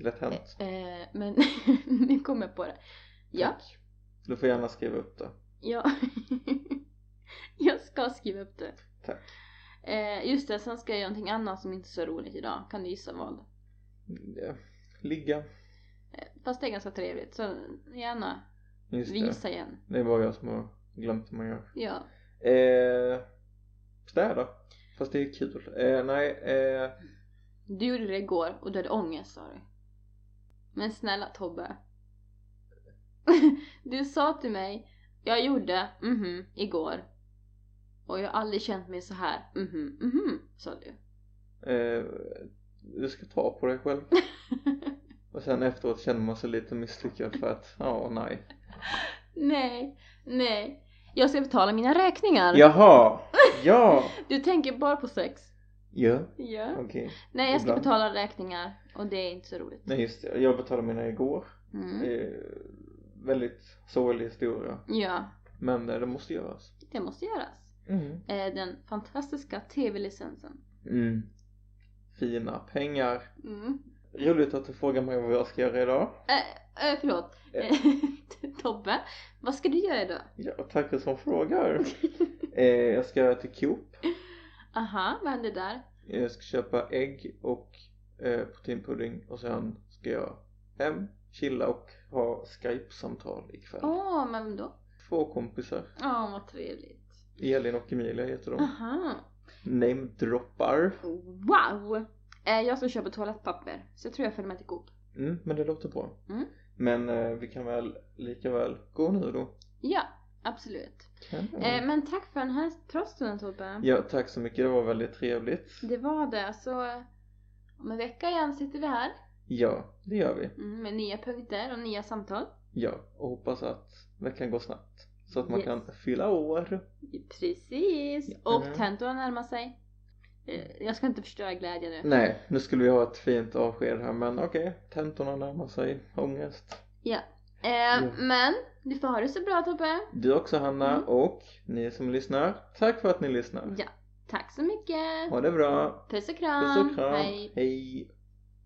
S1: Lätt hänt.
S2: Eh, men nu kom jag på det. Ja.
S1: Tack. Du får gärna skriva upp det.
S2: ja. jag ska skriva upp det.
S1: Tack.
S2: Eh, just det, sen ska jag göra någonting annat som inte är så roligt idag. Kan du gissa vad?
S1: Mm, Ja. Ligga.
S2: Fast det är ganska trevligt, så gärna.
S1: Just
S2: Vi
S1: det.
S2: gissar igen.
S1: Det är bara jag som har glömt hur man gör.
S2: Ja.
S1: Eh, städa. Fast det är kul. Eh, nej, eh,
S2: Du gjorde det igår och du hade ångest sa du. Men snälla Tobbe. du sa till mig, jag gjorde mhm igår. Och jag har aldrig känt mig så här mhm mhm sa du.
S1: eh, du ska ta på dig själv. Och sen efteråt känner man sig lite misslyckad för att, ja nej.
S2: nej, nej. Jag ska betala mina räkningar.
S1: Jaha! Ja!
S2: Du tänker bara på sex.
S1: Ja,
S2: Ja.
S1: okej.
S2: Nej, jag ska
S1: Ibland.
S2: betala räkningar och det är inte så roligt.
S1: Nej just det, jag betalade mina igår.
S2: Mm.
S1: Eh, väldigt sorglig historia.
S2: Ja,
S1: Men eh, det måste göras.
S2: det måste göras.
S1: Mm.
S2: Eh, Den fantastiska tv-licensen.
S1: Fina pengar.
S2: Mm.
S1: Roligt att du frågar mig vad jag ska göra idag.
S2: Eh, eh, förlåt.
S1: Eh.
S2: Eh, Tobbe, vad ska du göra idag?
S1: Ja, tack som frågar. eh, jag ska till Coop. Eh,
S2: Aha, vad hände där?
S1: Jag ska köpa ägg och eh, proteinpudding och sen ska jag hem, chilla och ha skype-samtal ikväll.
S2: Åh, men vem då?
S1: Två kompisar.
S2: Ja, vad trevligt.
S1: Elin och Emilia heter de.
S2: Aha,
S1: Namedroppar.
S2: wow! Eh, jag ska köpa toalettpapper, så jag tror jag följer med till Coop.
S1: Mm, men det låter bra.
S2: Mm.
S1: Men eh, vi kan väl lika väl gå nu då.
S2: Ja, absolut.
S1: Kan vi?
S2: Eh, men tack för den här pratstunden Tobbe.
S1: Mm. Ja, tack så mycket. Det var väldigt trevligt.
S2: Det var det, så eh, om en vecka igen sitter vi här
S1: Ja, det gör vi.
S2: mm, med nya punkter och nya samtal.
S1: Ja, och hoppas att veckan går snabbt. Så att man
S2: Yes.
S1: kan fylla år.
S2: Precis!
S1: Ja.
S2: Och tentorna närmar sig. Eh, Jag ska inte förstöra glädjen nu.
S1: Nej, nu skulle vi ha ett fint avsked här men okej, tentorna närmar sig. Ångest.
S2: Eh, Men, du får ha det så bra Tobbe.
S1: Du också Hanna
S2: Mm.
S1: och ni som lyssnar, tack för att ni lyssnar.
S2: Ja. Tack så mycket!
S1: Ha det bra.
S2: Puss och
S1: Puss
S2: kram!
S1: och kram.
S2: Hej!
S1: Hej.